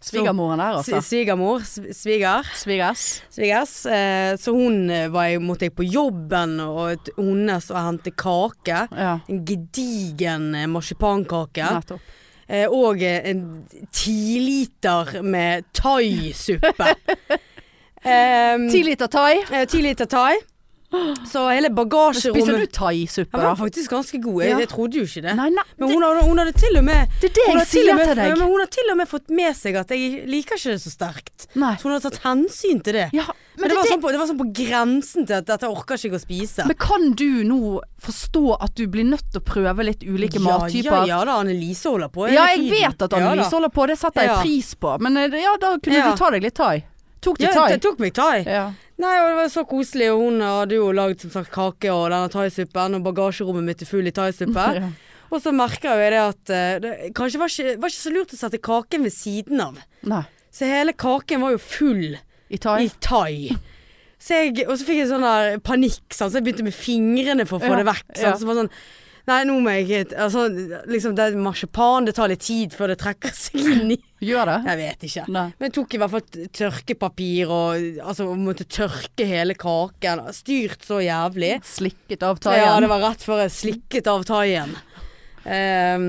Speaker 1: Svigermoren der,
Speaker 2: S-
Speaker 1: altså.
Speaker 2: Svigermor. sv- Sviger.
Speaker 1: Svigers.
Speaker 2: Svigers. Eh, så hun eh, var jeg, måtte jeg på jobben og t- hennes og hente kake.
Speaker 1: Ja.
Speaker 2: En gedigen eh, marsipankake.
Speaker 1: Nettopp.
Speaker 2: Eh, og eh, en tiliter med thai-suppe. Ehm,
Speaker 1: Ti liter thai.
Speaker 2: eh, Ti liter thai. Så hele
Speaker 1: Spiser du
Speaker 2: bagasjerommet
Speaker 1: thaisuppe,
Speaker 2: Den var
Speaker 1: da?
Speaker 2: faktisk ganske god. Jeg,
Speaker 1: Ja.
Speaker 2: jeg trodde jo ikke det.
Speaker 1: Nei, nei.
Speaker 2: Men hun hadde, hun hadde til og med
Speaker 1: Det er det
Speaker 2: hun
Speaker 1: jeg
Speaker 2: hadde til og
Speaker 1: sier
Speaker 2: med-
Speaker 1: til
Speaker 2: Ja,
Speaker 1: deg.
Speaker 2: Men hun har til og med fått med seg at jeg liker ikke det så sterkt.
Speaker 1: Nei.
Speaker 2: Så hun har tatt hensyn til det.
Speaker 1: Ja,
Speaker 2: men det, var Sånn på, det var sånn på grensen til at dette orker ikke jeg å spise.
Speaker 1: Men kan du nå forstå at du blir nødt til å prøve litt ulike
Speaker 2: Ja,
Speaker 1: mattyper?
Speaker 2: ja, ja da, Annelise holder på.
Speaker 1: Ja,
Speaker 2: hele
Speaker 1: jeg
Speaker 2: tiden.
Speaker 1: vet at
Speaker 2: Ja
Speaker 1: Annelise
Speaker 2: da.
Speaker 1: holder på, det setter jeg
Speaker 2: Ja.
Speaker 1: pris på. Men eh, ja, da kunne
Speaker 2: Ja.
Speaker 1: du ta deg litt thai. Tok du
Speaker 2: Ja,
Speaker 1: thai?
Speaker 2: det tok meg thai.
Speaker 1: Ja.
Speaker 2: Nei, og det var så koselig, og hun hadde jo lagd som sagt kake og denne thaisuppen, og bagasjerommet mitt er full i thaisuppe.
Speaker 1: Ja.
Speaker 2: Og så merker jeg jo det at eh, det kanskje var ikke, var ikke så lurt å sette kaken ved siden av.
Speaker 1: Nei.
Speaker 2: Så hele kaken var jo full
Speaker 1: I thai?
Speaker 2: i thai. Så jeg, og så fikk jeg sånn der panikk, sant? så jeg begynte med fingrene for å få
Speaker 1: Ja,
Speaker 2: det vekk. Sant?
Speaker 1: ja.
Speaker 2: Så var det sånn Nei, nå må jeg altså, liksom, Det er marsipan, det tar litt tid før det trekker seg inn i
Speaker 1: Gjør det?
Speaker 2: Jeg vet ikke.
Speaker 1: Nei.
Speaker 2: Men jeg tok i hvert fall tørkepapir og altså, og måtte tørke hele kaken. Styrt så jævlig.
Speaker 1: Slikket av
Speaker 2: Så ja, det
Speaker 1: thaien?
Speaker 2: var rett før jeg slikket av thaien. Um,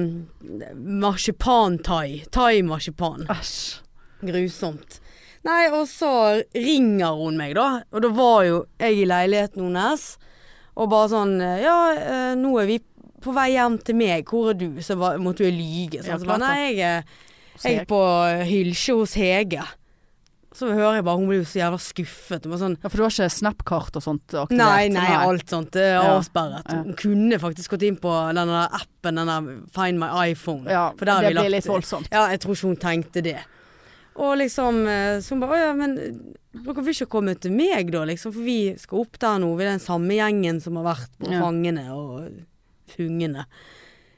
Speaker 2: Marsipanthai. Thaimarsipan.
Speaker 1: Æsj.
Speaker 2: Grusomt. Nei, og så ringer hun meg, da. Og da var jo jeg i leiligheten hennes. Og bare sånn Ja, eh, nå er vi på vei hjem til meg. Hvor er du? Så ba, måtte jo jeg lyge.
Speaker 1: Ja,
Speaker 2: Sånn. Så bare,
Speaker 1: klart da.
Speaker 2: nei, jeg er
Speaker 1: Så
Speaker 2: jeg er
Speaker 1: jeg-
Speaker 2: på hylsje hos Hege. Så hører jeg bare Hun blir jo så jævla skuffet. Hun var sånn
Speaker 1: Ja, for du har ikke Snap-kart og sånt aktivert?
Speaker 2: Nei, nei, alt sånt det er
Speaker 1: Ja.
Speaker 2: avsperret.
Speaker 1: Ja.
Speaker 2: Hun kunne faktisk gått inn på den der appen, den der Find my iPhone.
Speaker 1: Ja,
Speaker 2: for der har
Speaker 1: det
Speaker 2: vi
Speaker 1: blir
Speaker 2: lagt-
Speaker 1: litt voldsomt.
Speaker 2: Ja, jeg tror ikke hun tenkte det. Og liksom eh, Så hun bare Å ja, men eh, dere vil ikke komme til meg, da, liksom? For vi skal opp der nå. Vi er den samme gjengen som har vært på
Speaker 1: Ja.
Speaker 2: Fangene og Fungene.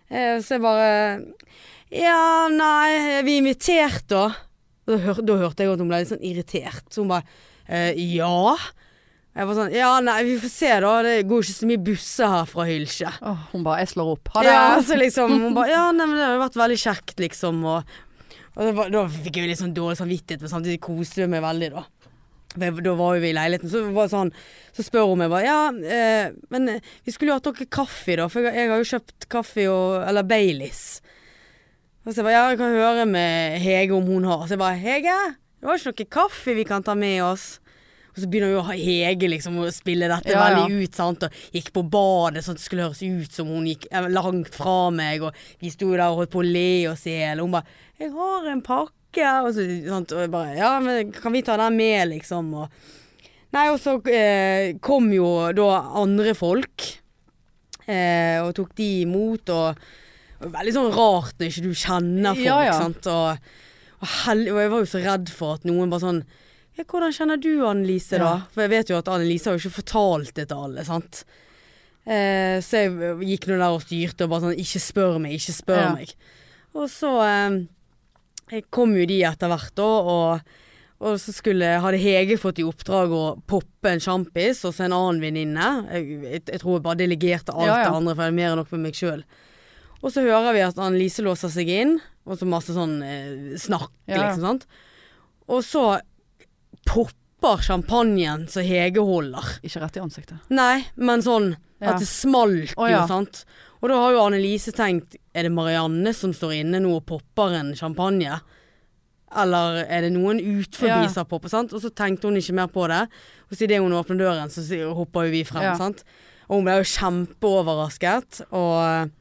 Speaker 2: Eh, Så jeg bare Ja, nei, er vi invitert, da? Da, hør, da hørte jeg at hun ble litt sånn irritert. Så hun bare Eh, ja. Jeg var sånn Ja, nei, vi får se, da. Det går jo ikke så mye busser her fra Hylkje.
Speaker 1: Åh, hun bare 'jeg slår opp'. Ha det.
Speaker 2: Ja, så liksom Hun bare Ja, nei, men det har jo vært veldig kjekt, liksom, og, og det var, Da fikk jeg jo litt sånn dårlig samvittighet, men samtidig koste jeg meg veldig, da. For jeg- Da var jo vi i leiligheten, så, var det sånn, så spør hun meg bare Ja, eh, men eh, vi skulle jo hatt dere kaffe, da, for jeg, jeg har jo kjøpt kaffe og Eller Baileys. Og så jeg bare Ja, jeg kan høre med Hege om hun har. Så jeg bare Hege, det var ikke noe kaffe vi kan ta med oss? Og så begynner jo Hege liksom å spille dette
Speaker 1: Ja, ja.
Speaker 2: veldig ut, sant. Og gikk på badet sånn at det skulle høres ut som hun gikk eh, langt fra meg, og vi sto der og holdt på å le oss i hjel. Og hun bare 'Jeg har en pakke', og så sant. Og jeg bare 'Ja, men kan vi ta den med', liksom. Og Nei, og så eh, kom jo da andre folk eh, og tok de imot, og og Veldig sånn rart når ikke du kjenner folk,
Speaker 1: Ja, ja.
Speaker 2: sant. Og, og, hel, og jeg var jo så redd for at noen bare sånn ja, 'Hvordan kjenner du Anne-Lise, da?'
Speaker 1: Ja.
Speaker 2: For jeg vet jo at Anne-Lise har jo ikke fortalt det til alle, sant. Eh, så jeg gikk nå der og styrte og bare sånn 'Ikke spør meg, ikke spør
Speaker 1: Ja.
Speaker 2: meg'. Og så eh, kom jo de etter hvert, da, og og så skulle, hadde Hege fått i oppdrag å poppe en sjampis og så en annen venninne. Jeg, jeg, jeg tror jeg bare delegerte alt
Speaker 1: Ja, ja.
Speaker 2: det andre, for jeg hadde mer enn nok med meg sjøl. Og så hører vi at Annelise låser seg inn, og så masse sånn eh, snakk,
Speaker 1: Ja, ja.
Speaker 2: liksom. sant? Og så popper champagnen som Hege holder.
Speaker 1: Ikke rett i ansiktet.
Speaker 2: Nei, men sånn
Speaker 1: Ja.
Speaker 2: at det smalt
Speaker 1: Å, ja.
Speaker 2: jo, sant. Og da har jo Annelise tenkt Er det Marianne som står inne nå og popper en champagne? Eller er det noen utenfor
Speaker 1: Ja.
Speaker 2: som popper? sant? Og så tenkte hun ikke mer på det. Og så idet hun åpner døren, så sier- hopper jo vi frem,
Speaker 1: Ja.
Speaker 2: sant. Og hun ble jo kjempeoverrasket. Og,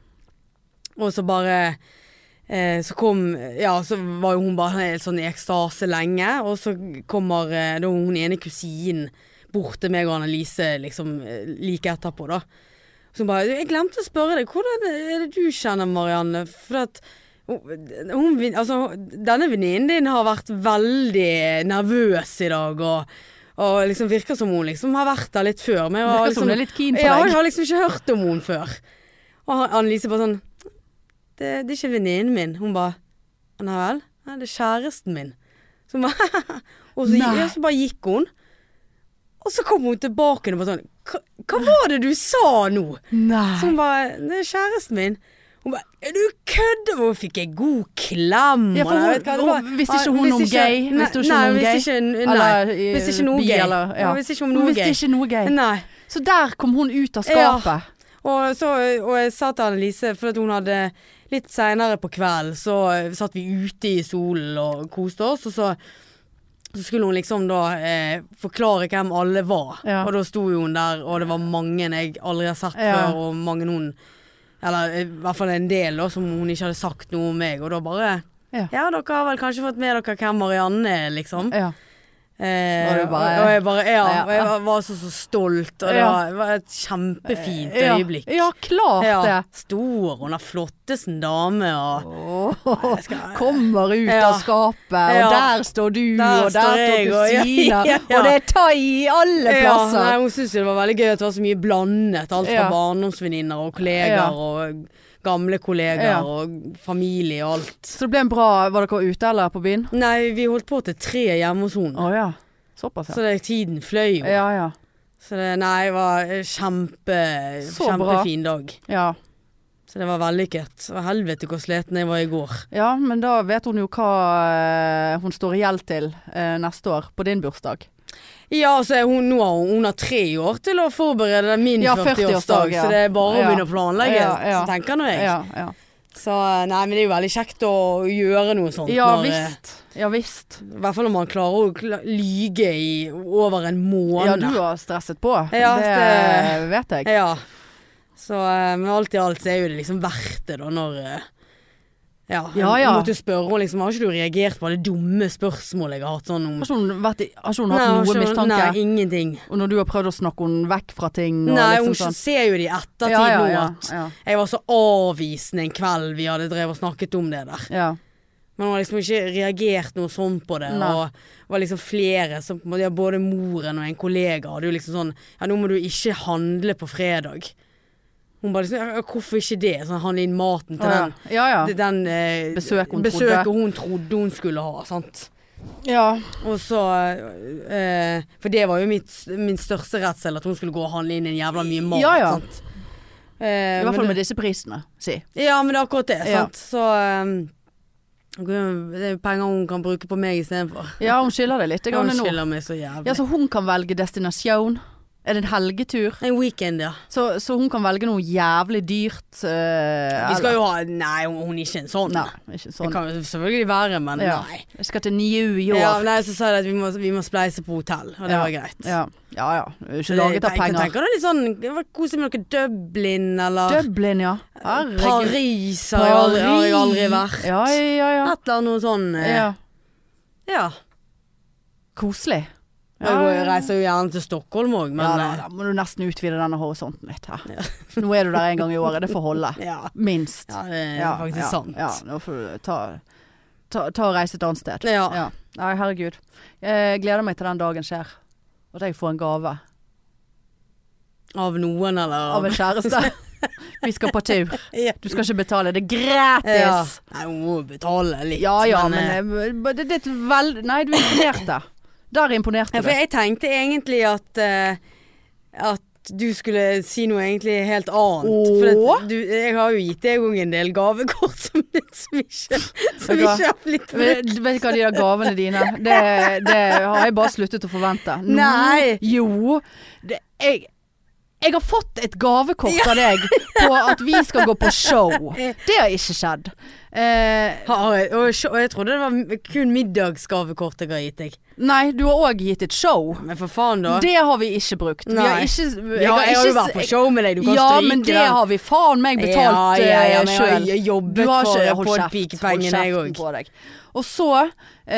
Speaker 2: og så bare eh, Så kom Ja, så var jo hun bare helt sånn i ekstase lenge. Og så kommer eh, da hun ene kusinen bort til meg og Annelise liksom eh, like etterpå, da. Så hun bare 'Jeg glemte å spørre deg, hvordan er det du kjenner Marianne?' For at hun, hun- altså, denne venninnen din har vært veldig nervøs i dag, og, og liksom virker som hun liksom har vært der litt før. Men jeg har
Speaker 1: Virker som
Speaker 2: liksom,
Speaker 1: hun er litt keen på
Speaker 2: ja, jeg
Speaker 1: deg.
Speaker 2: har liksom ikke hørt om henne før. Og han- Annelise bare sånn det, 'Det er ikke venninnen min.' Hun bare 'Nei vel?' Nei, 'Det er kjæresten min.' Så hun bare, og så,
Speaker 1: Nei.
Speaker 2: ja, så bare gikk hun. Og så kom hun tilbake og bare sånn «Hva- 'Hva var det du sa nå?' Så
Speaker 1: Nei.
Speaker 2: hun bare 'Det er kjæresten min'. Hun bare 'Er du kødder?' Og fikk jeg god klem.
Speaker 1: Ja, for
Speaker 2: og jeg
Speaker 1: hun-
Speaker 2: vet hva, det
Speaker 1: hun-
Speaker 2: var-
Speaker 1: visste ikke
Speaker 2: Ah,
Speaker 1: hun om
Speaker 2: ikke-
Speaker 1: gay?
Speaker 2: Nei,
Speaker 1: Visste hun ikke
Speaker 2: nei,
Speaker 1: om gay?
Speaker 2: Visste ikke, nei,
Speaker 1: Eller, eh,
Speaker 2: visste ikke noe
Speaker 1: bi,
Speaker 2: gay.
Speaker 1: eller- ja.
Speaker 2: Hun visste ikke om
Speaker 1: Hun
Speaker 2: noe
Speaker 1: visste
Speaker 2: gay.
Speaker 1: ikke noe gay.
Speaker 2: Nei.
Speaker 1: Så der kom hun ut av
Speaker 2: Ja.
Speaker 1: skapet.
Speaker 2: Og, så, og jeg sa til Annelise, for at hun hadde litt seinere på kvelden, så eh, satt vi ute i solen og koste oss, og så, så skulle hun liksom da eh, forklare hvem alle var.
Speaker 1: Ja.
Speaker 2: Og da sto jo hun der, og det var mange jeg aldri har sett
Speaker 1: Ja.
Speaker 2: før, og mange hun Eller eh, i hvert fall en del da, som hun ikke hadde sagt noe om meg, og da bare
Speaker 1: Ja.
Speaker 2: ja, dere har vel kanskje fått med dere hvem Marianne er, liksom.
Speaker 1: Ja.
Speaker 2: Eh,
Speaker 1: Og du bare-
Speaker 2: og jeg bare Ja.
Speaker 1: Ja.
Speaker 2: Og jeg var, var så, så stolt, og det
Speaker 1: Ja.
Speaker 2: var, det var et kjempefint
Speaker 1: Ja.
Speaker 2: øyeblikk.
Speaker 1: Ja, klart det.
Speaker 2: Stor, hun er flottesen dame, og
Speaker 1: Åh, kommer ut
Speaker 2: Ja.
Speaker 1: av skapet,
Speaker 2: Ja.
Speaker 1: og der står du,
Speaker 2: Der
Speaker 1: og
Speaker 2: står
Speaker 1: der står
Speaker 2: jeg, og- ja,
Speaker 1: kusina,
Speaker 2: ja.
Speaker 1: og det er thai i
Speaker 2: Ja,
Speaker 1: alle plasser.
Speaker 2: nei, hun syntes jo det var veldig gøy at det var så mye blandet. Alt fra
Speaker 1: Ja.
Speaker 2: barndomsvenninner og kolleger
Speaker 1: Ja.
Speaker 2: og gamle kolleger
Speaker 1: Ja.
Speaker 2: og familie og alt.
Speaker 1: Så det ble en bra Var dere ute eller på byen?
Speaker 2: Nei, vi holdt på til tre hjemme hos henne.
Speaker 1: Å ja. Såpass, ja.
Speaker 2: Så det, tiden fløy jo.
Speaker 1: Ja, ja.
Speaker 2: Så det, nei, det var kjempe,
Speaker 1: Så bra.
Speaker 2: kjempefin dag.
Speaker 1: ja.
Speaker 2: Så det var vellykket. Og helvete hvor sliten jeg var i går.
Speaker 1: Ja, men da vet hun jo hva eh, hun står i gjeld til eh, neste år, på din bursdag.
Speaker 2: Ja, altså hun, nå har hun, hun har tre år til å forberede min
Speaker 1: Ja,
Speaker 2: 40-årsdag,
Speaker 1: 40-årsdag, ja.
Speaker 2: så det er bare å
Speaker 1: Ja.
Speaker 2: begynne å planlegge,
Speaker 1: Ja, ja.
Speaker 2: så tenker nå jeg.
Speaker 1: Ja, ja.
Speaker 2: Så nei, men det er jo veldig kjekt å gjøre noe sånt.
Speaker 1: ja
Speaker 2: når, eh,
Speaker 1: visst. Ja visst.
Speaker 2: I hvert fall når man klarer å kla- lyge i over en
Speaker 1: Ja,
Speaker 2: måned.
Speaker 1: du har stresset på.
Speaker 2: Ja,
Speaker 1: det vet jeg.
Speaker 2: Ja. Så, eh, men alt i alt så er jo det liksom verdt det, da, når eh, Ja,
Speaker 1: Ja,
Speaker 2: jeg
Speaker 1: ja.
Speaker 2: måtte jo spørre henne, liksom. Har ikke du reagert på det dumme spørsmålet jeg har hatt sånn om
Speaker 1: Har ikke hun, vært i, har ikke hun
Speaker 2: Nei,
Speaker 1: hatt
Speaker 2: har
Speaker 1: noe
Speaker 2: ikke-
Speaker 1: mistanke?
Speaker 2: Nei, ingenting.
Speaker 1: Og når du har prøvd å snakke henne vekk fra ting og
Speaker 2: Nei, hun
Speaker 1: liksom sånn.
Speaker 2: ser jo det i ettertid
Speaker 1: Ja, ja,
Speaker 2: nå
Speaker 1: ja,
Speaker 2: at
Speaker 1: ja.
Speaker 2: Jeg var så avvisende en kveld vi hadde drevet og snakket om det der.
Speaker 1: Ja.
Speaker 2: Men hun har liksom ikke reagert noe sånn på det.
Speaker 1: Nei.
Speaker 2: Og det var liksom flere som på en måte, ja, Både moren og en kollega hadde jo liksom sånn Ja, nå må du ikke handle på fredag. Hun bare liksom ja, Hvorfor ikke det? Sånn, handle inn maten til
Speaker 1: Å, ja.
Speaker 2: den,
Speaker 1: ja, ja.
Speaker 2: til den eh,
Speaker 1: Besøket hun
Speaker 2: besøket
Speaker 1: trodde.
Speaker 2: hun trodde hun skulle ha. Sant?
Speaker 1: Ja.
Speaker 2: Og så eh, For det var jo mitt, min største redsel, at hun skulle gå og handle inn en jævla mye mat.
Speaker 1: Ja, ja.
Speaker 2: Sant? Eh,
Speaker 1: I hvert
Speaker 2: men
Speaker 1: fall med
Speaker 2: det,
Speaker 1: disse prisene, si.
Speaker 2: ja, men det er akkurat det.
Speaker 1: Ja.
Speaker 2: Sant? Så eh, det er jo penger hun kan bruke på meg istedenfor.
Speaker 1: Ja, hun skiller det litt.
Speaker 2: Ja, Hun skiller meg så jævlig.
Speaker 1: Ja, så hun kan velge destinasjon. Er det en helgetur?
Speaker 2: En weekend, ja.
Speaker 1: Så, så hun kan velge noe jævlig dyrt. eh,
Speaker 2: Vi skal jo ha Nei, hun hun er ikke en sånn.
Speaker 1: Nei, ikke
Speaker 2: Det
Speaker 1: sånn.
Speaker 2: kan jo selvfølgelig være, men
Speaker 1: Ja.
Speaker 2: nei.
Speaker 1: Jeg skal til New York.
Speaker 2: Ja, nei, så sa de at vi må, vi må spleise på hotell, og det
Speaker 1: Ja.
Speaker 2: var greit.
Speaker 1: Ja ja. ja. Du er Ikke laget av
Speaker 2: Jeg
Speaker 1: penger.
Speaker 2: tenker det er litt sånn det var Kose med noe Dublin eller
Speaker 1: Dublin, ja. Herregud.
Speaker 2: Paris har jeg aldri, har jeg aldri vært.
Speaker 1: Ja, ja, ja.
Speaker 2: Et eller annet sånn eh,
Speaker 1: ja.
Speaker 2: ja.
Speaker 1: Koselig.
Speaker 2: Jeg går- Jeg reiser jo gjerne til Stockholm òg,
Speaker 1: ja,
Speaker 2: men eh,
Speaker 1: da, da må du nesten utvide denne horisonten litt her. Nå er du der en gang i året, det får holde.
Speaker 2: eh, ja.
Speaker 1: Minst.
Speaker 2: ja, det er faktisk
Speaker 1: ja,
Speaker 2: sant.
Speaker 1: Ja, nå får du ta, ta, ta og reise et annet sted.
Speaker 2: Ja.
Speaker 1: Ja. Nei, herregud. Jeg gleder meg til den dagen skjer. At jeg får en gave
Speaker 2: Av noen, eller
Speaker 1: av en kjæreste. Vi skal på tur.
Speaker 2: Ja.
Speaker 1: Du skal ikke betale, det er gratis!
Speaker 2: Ja. Nei, hun må jo betale litt,
Speaker 1: Ja ja, men,
Speaker 2: eh,
Speaker 1: eh, men det, det er et vel... Nei, du imponerte. Der imponerte
Speaker 2: ja,
Speaker 1: du.
Speaker 2: For jeg tenkte egentlig at eh, At du skulle si noe egentlig helt annet. For
Speaker 1: Åh?
Speaker 2: at du, jeg har jo gitt deg en del gavekort som, som ikke, som
Speaker 1: Vet du hva?
Speaker 2: ikke har blitt brukt.
Speaker 1: Vet vet du hva, de der gavene dine, det, det har jeg bare sluttet å forvente. Nå-
Speaker 2: Nei.
Speaker 1: Jo. Det, jeg, jeg har fått et gavekort av deg på at vi skal gå på show. Det har ikke skjedd. Eh,
Speaker 2: Har jeg, og, sj- og jeg trodde det var m- kun middagsgavekort jeg har gitt deg.
Speaker 1: nei, du har òg gitt et show.
Speaker 2: Men for faen, da.
Speaker 1: Det har vi ikke brukt. Vi har
Speaker 2: Nei.
Speaker 1: ikke,
Speaker 2: ja, jeg, har jo vært på show med deg, du kan
Speaker 1: ja,
Speaker 2: stryke
Speaker 1: men det
Speaker 2: den.
Speaker 1: har vi faen meg
Speaker 2: ja, ja,
Speaker 1: betalt
Speaker 2: ja,
Speaker 1: eh,
Speaker 2: men jeg har
Speaker 1: sjøl.
Speaker 2: jo
Speaker 1: Du
Speaker 2: jobbet
Speaker 1: har
Speaker 2: for
Speaker 1: ikke
Speaker 2: å
Speaker 1: Hold
Speaker 2: få
Speaker 1: kjeft. Hold
Speaker 2: pikepengene, jeg
Speaker 1: kjeften
Speaker 2: òg.
Speaker 1: på deg. Og så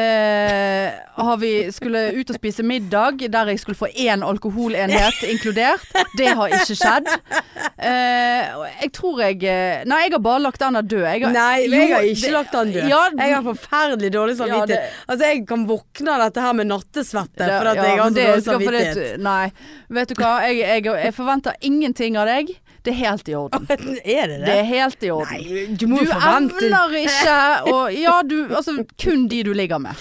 Speaker 1: eh, har vi skulle ut og spise middag der jeg skulle få én alkoholenhet inkludert. Det har ikke skjedd. Eh, og jeg tror jeg eh, Nei, jeg har bare lagt den der død. Jeg har-
Speaker 2: Nei, men jeg har
Speaker 1: Jo,
Speaker 2: ikke
Speaker 1: det-
Speaker 2: lagt den død.
Speaker 1: Ja,
Speaker 2: jeg har forferdelig dårlig
Speaker 1: Ja,
Speaker 2: samvittighet.
Speaker 1: det-
Speaker 2: altså, jeg kan våkne av dette her med nattesvette
Speaker 1: Det-
Speaker 2: fordi at
Speaker 1: ja,
Speaker 2: jeg har
Speaker 1: men
Speaker 2: så
Speaker 1: det
Speaker 2: dårlig
Speaker 1: skal- fordi at-
Speaker 2: samvittighet.
Speaker 1: Nei. Vet du hva, jeg, jeg, jeg forventer ingenting av deg. Det er helt i orden.
Speaker 2: er det det?
Speaker 1: Det er helt i orden.
Speaker 2: Nei, du må
Speaker 1: Du
Speaker 2: jo forvente
Speaker 1: evner ikke å Ja, du Altså, kun de du ligger med.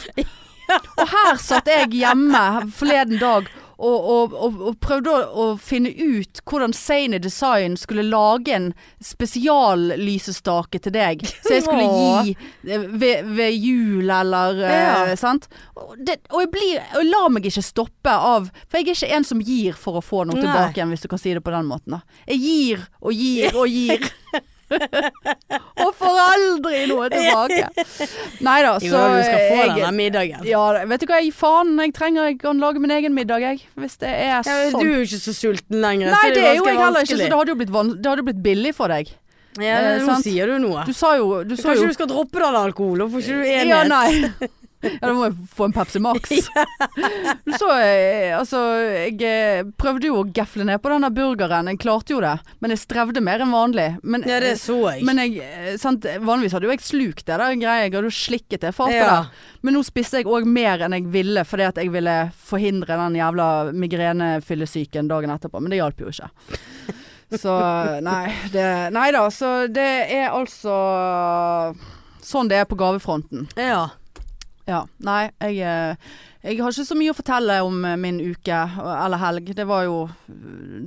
Speaker 1: Og her satt jeg hjemme forleden dag og, og, og, og prøvde å, å finne ut hvordan Sane Design skulle lage en spesiallysestake til deg. Så jeg skulle gi eh, ved, ved jul eller eh,
Speaker 2: Ja.
Speaker 1: Sant? Og, det, og jeg blir Og jeg lar meg ikke stoppe av For jeg er ikke en som gir for å få noe
Speaker 2: Nei.
Speaker 1: tilbake igjen, hvis du kan si det på den måten. Da. Jeg gir og gir og gir. Og får aldri noe tilbake. Nei da, så
Speaker 2: Jo, da, du skal få
Speaker 1: jeg-
Speaker 2: denne middagen.
Speaker 1: Ja, vet du hva, jeg, faen, jeg trenger Jeg kan lage min egen middag, jeg. Hvis det er
Speaker 2: Ja, men
Speaker 1: sånn.
Speaker 2: du er jo ikke så sulten lenger.
Speaker 1: Nei,
Speaker 2: så
Speaker 1: det er jo jeg
Speaker 2: ganske
Speaker 1: heller ikke, så
Speaker 2: vanskelig.
Speaker 1: det hadde jo blitt, van det hadde blitt billig for deg.
Speaker 2: ja,
Speaker 1: eh,
Speaker 2: Nå
Speaker 1: sant?
Speaker 2: sier du noe.
Speaker 1: Du sa jo Du så
Speaker 2: Kanskje
Speaker 1: jo
Speaker 2: du skal droppe den alkoholen, for ikke du enhet.
Speaker 1: Ja, nei. Ja, da må jeg få en Pepsi Max. Du så, eh, altså Jeg eh, prøvde jo å gefle ned på denne burgeren. Jeg klarte jo det. Men jeg strevde mer enn vanlig. Men,
Speaker 2: Ja, det så jeg.
Speaker 1: Men jeg, eh, sant, vanligvis hadde jo jeg slukt det der greia, jeg hadde jo slikket det fatet
Speaker 2: Ja.
Speaker 1: der. Men nå spiste jeg òg mer enn jeg ville, fordi at jeg ville forhindre den jævla migrenefyllesyken dagen etterpå. Men det hjalp jo ikke. Så nei, det Nei da, så det er altså sånn det er på gavefronten.
Speaker 2: ja.
Speaker 1: Ja. Nei, jeg, eh, jeg har ikke så mye å fortelle om eh, min uke eh, eller helg. Det var jo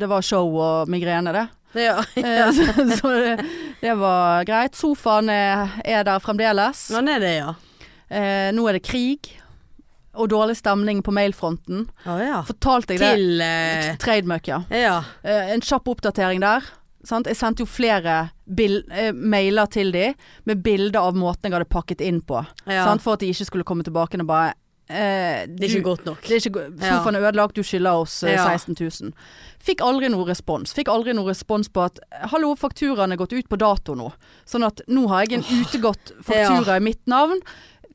Speaker 1: Det var show og migrene, det.
Speaker 2: ja.
Speaker 1: Eh, så så det, det var greit. Sofaen er, er der fremdeles.
Speaker 2: Sånn er det, ja.
Speaker 1: Eh, nå er det krig og dårlig stemning på mailfronten.
Speaker 2: Å ja.
Speaker 1: Fortalte jeg det?
Speaker 2: Til eh,
Speaker 1: Trademuck, ja.
Speaker 2: Ja.
Speaker 1: Eh, en kjapp oppdatering der. Sant? Jeg sendte jo flere bil eh, mailer til de med bilder av måten jeg hadde pakket inn på.
Speaker 2: Ja.
Speaker 1: Sant? For at de ikke skulle komme tilbake og bare eh,
Speaker 2: Det er
Speaker 1: du-
Speaker 2: ikke godt nok.
Speaker 1: det er ikke, go- sofaen er ødelagt, du skylder oss eh,
Speaker 2: Ja.
Speaker 1: 16 000. Fikk aldri noe respons. Fikk aldri noe respons på at hallo, fakturaen er gått ut på dato nå. Sånn at nå har jeg en utegått faktura i mitt navn.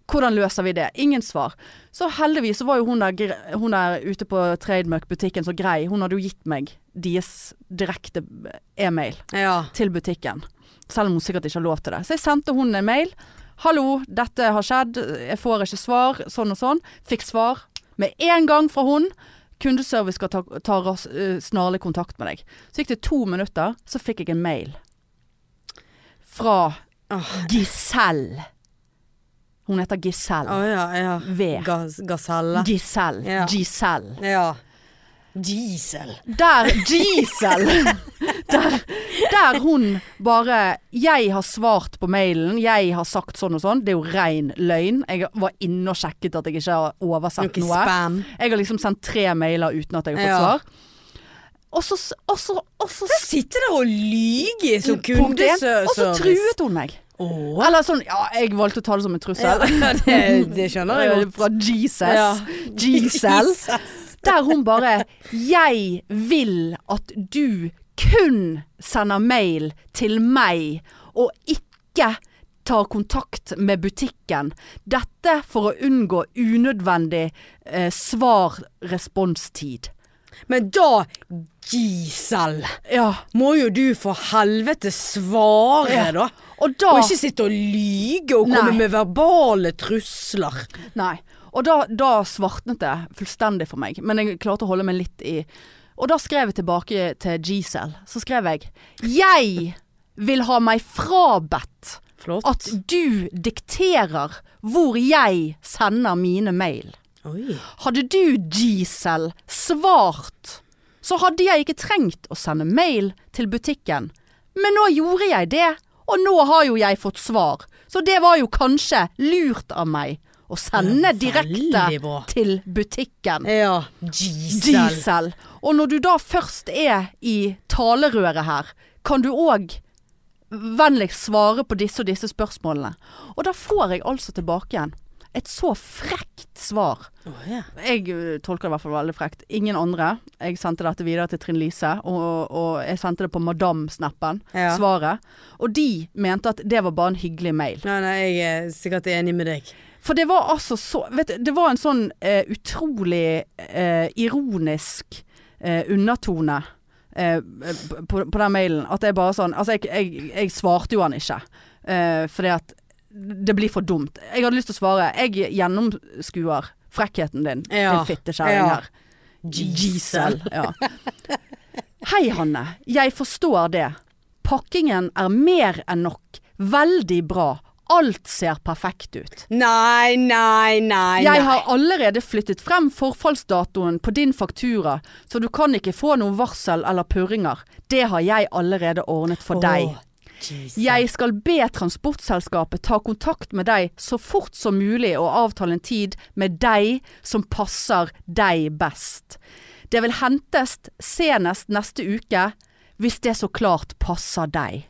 Speaker 1: Hvordan løser vi det? Ingen svar. Så heldigvis så var jo hun der, gre- hun der ute på Trademuck-butikken så grei. Hun hadde jo gitt meg deres direkte e-mail
Speaker 2: Ja.
Speaker 1: til butikken. Selv om hun sikkert ikke har lov til det. Så jeg sendte hun en mail. 'Hallo, dette har skjedd. Jeg får ikke svar.' Sånn og sånn. Fikk svar med en gang fra hun. 'Kundeservice skal ta, ta ras, eh, snarlig kontakt med deg.' Så gikk det to minutter, så fikk jeg en mail. Fra
Speaker 2: Åh.
Speaker 1: Giselle. Hun heter Giselle.
Speaker 2: Å ja, ja.
Speaker 1: V.
Speaker 2: Gas gaselle.
Speaker 1: Giselle.
Speaker 2: Ja.
Speaker 1: Giselle.
Speaker 2: Ja. Diesel.
Speaker 1: Der Gisel der, der hun bare 'Jeg har svart på mailen, jeg har sagt sånn og sånn'. Det er jo rein løgn. Jeg var inne og sjekket at jeg ikke har oversett
Speaker 2: Noe
Speaker 1: noe.
Speaker 2: spam.
Speaker 1: Jeg har liksom sendt tre mailer uten at jeg har fått
Speaker 2: Ja.
Speaker 1: svar. Og så, s- og så, og så s-
Speaker 2: Sitte der og lyge som
Speaker 1: punkt én, Og så
Speaker 2: kundeservice.
Speaker 1: truet hun meg.
Speaker 2: Åh.
Speaker 1: Eller sånn Ja, jeg valgte å ta det som en
Speaker 2: Ja,
Speaker 1: trussel.
Speaker 2: det, det skjønner jeg godt.
Speaker 1: Fra Jesus.
Speaker 2: Ja.
Speaker 1: Gisel. Der hun bare 'Jeg vil at du kun sender mail til meg, og ikke tar kontakt med butikken. Dette for å unngå unødvendig eh, svar-responstid.
Speaker 2: Men da, Gisel,
Speaker 1: Ja.
Speaker 2: må jo du for helvete svare,
Speaker 1: Ja.
Speaker 2: da.
Speaker 1: Og da
Speaker 2: Og ikke sitte og lyge og komme
Speaker 1: Nei.
Speaker 2: med verbale trusler.
Speaker 1: Nei. Og da, da svartnet det fullstendig for meg, men jeg klarte å holde meg litt i Og da skrev jeg tilbake til Gisel. Så skrev jeg Jeg vil ha meg frabedt
Speaker 2: Flott.
Speaker 1: at du dikterer hvor jeg sender mine mail.
Speaker 2: Oi.
Speaker 1: Hadde du, Gisel, svart, så hadde jeg ikke trengt å sende mail til butikken. Men nå gjorde jeg det, og nå har jo jeg fått svar. Så det var jo kanskje lurt av meg å sende
Speaker 2: Ja, veldig
Speaker 1: direkte
Speaker 2: bra.
Speaker 1: til butikken.
Speaker 2: Ja, Gisel.
Speaker 1: Gisel. Og når du da først er i talerøret her, kan du òg vennligst svare på disse og disse spørsmålene. Og da får jeg altså tilbake igjen et så frekt svar.
Speaker 2: Å, ja.
Speaker 1: Jeg ø, tolker det i hvert fall veldig frekt. Ingen andre. Jeg sendte dette videre til Trine Lise, og, og jeg sendte det på Madam-snappen,
Speaker 2: Ja.
Speaker 1: svaret. Og de mente at det var bare en hyggelig mail.
Speaker 2: Nei, nei, jeg er sikkert enig med deg.
Speaker 1: For det var altså så Vet du, det var en sånn eh, utrolig eh, ironisk eh, undertone. eh, p- på, på den mailen. At jeg bare sånn Altså, jeg, jeg, jeg svarte jo han ikke. eh, fordi at det blir for dumt. Jeg hadde lyst til å svare. Jeg gjennomskuer frekkheten din,
Speaker 2: Ja.
Speaker 1: din fittekjerring
Speaker 2: Ja.
Speaker 1: her. Gisel. Ja. Hei, Hanne. Jeg forstår det. Pakkingen er mer enn nok. Veldig bra. Alt ser perfekt ut.
Speaker 2: Nei, nei, nei.
Speaker 1: Jeg
Speaker 2: nei.
Speaker 1: har allerede flyttet frem forfallsdatoen på din faktura, så du kan ikke få noen varsel eller purringer. Det har jeg allerede ordnet for
Speaker 2: Åh,
Speaker 1: deg.
Speaker 2: Gisel.
Speaker 1: Jeg skal be transportselskapet ta kontakt med deg så fort som mulig og avtale en tid med deg som passer deg best. Det vil hentes senest neste uke, hvis det så klart passer deg.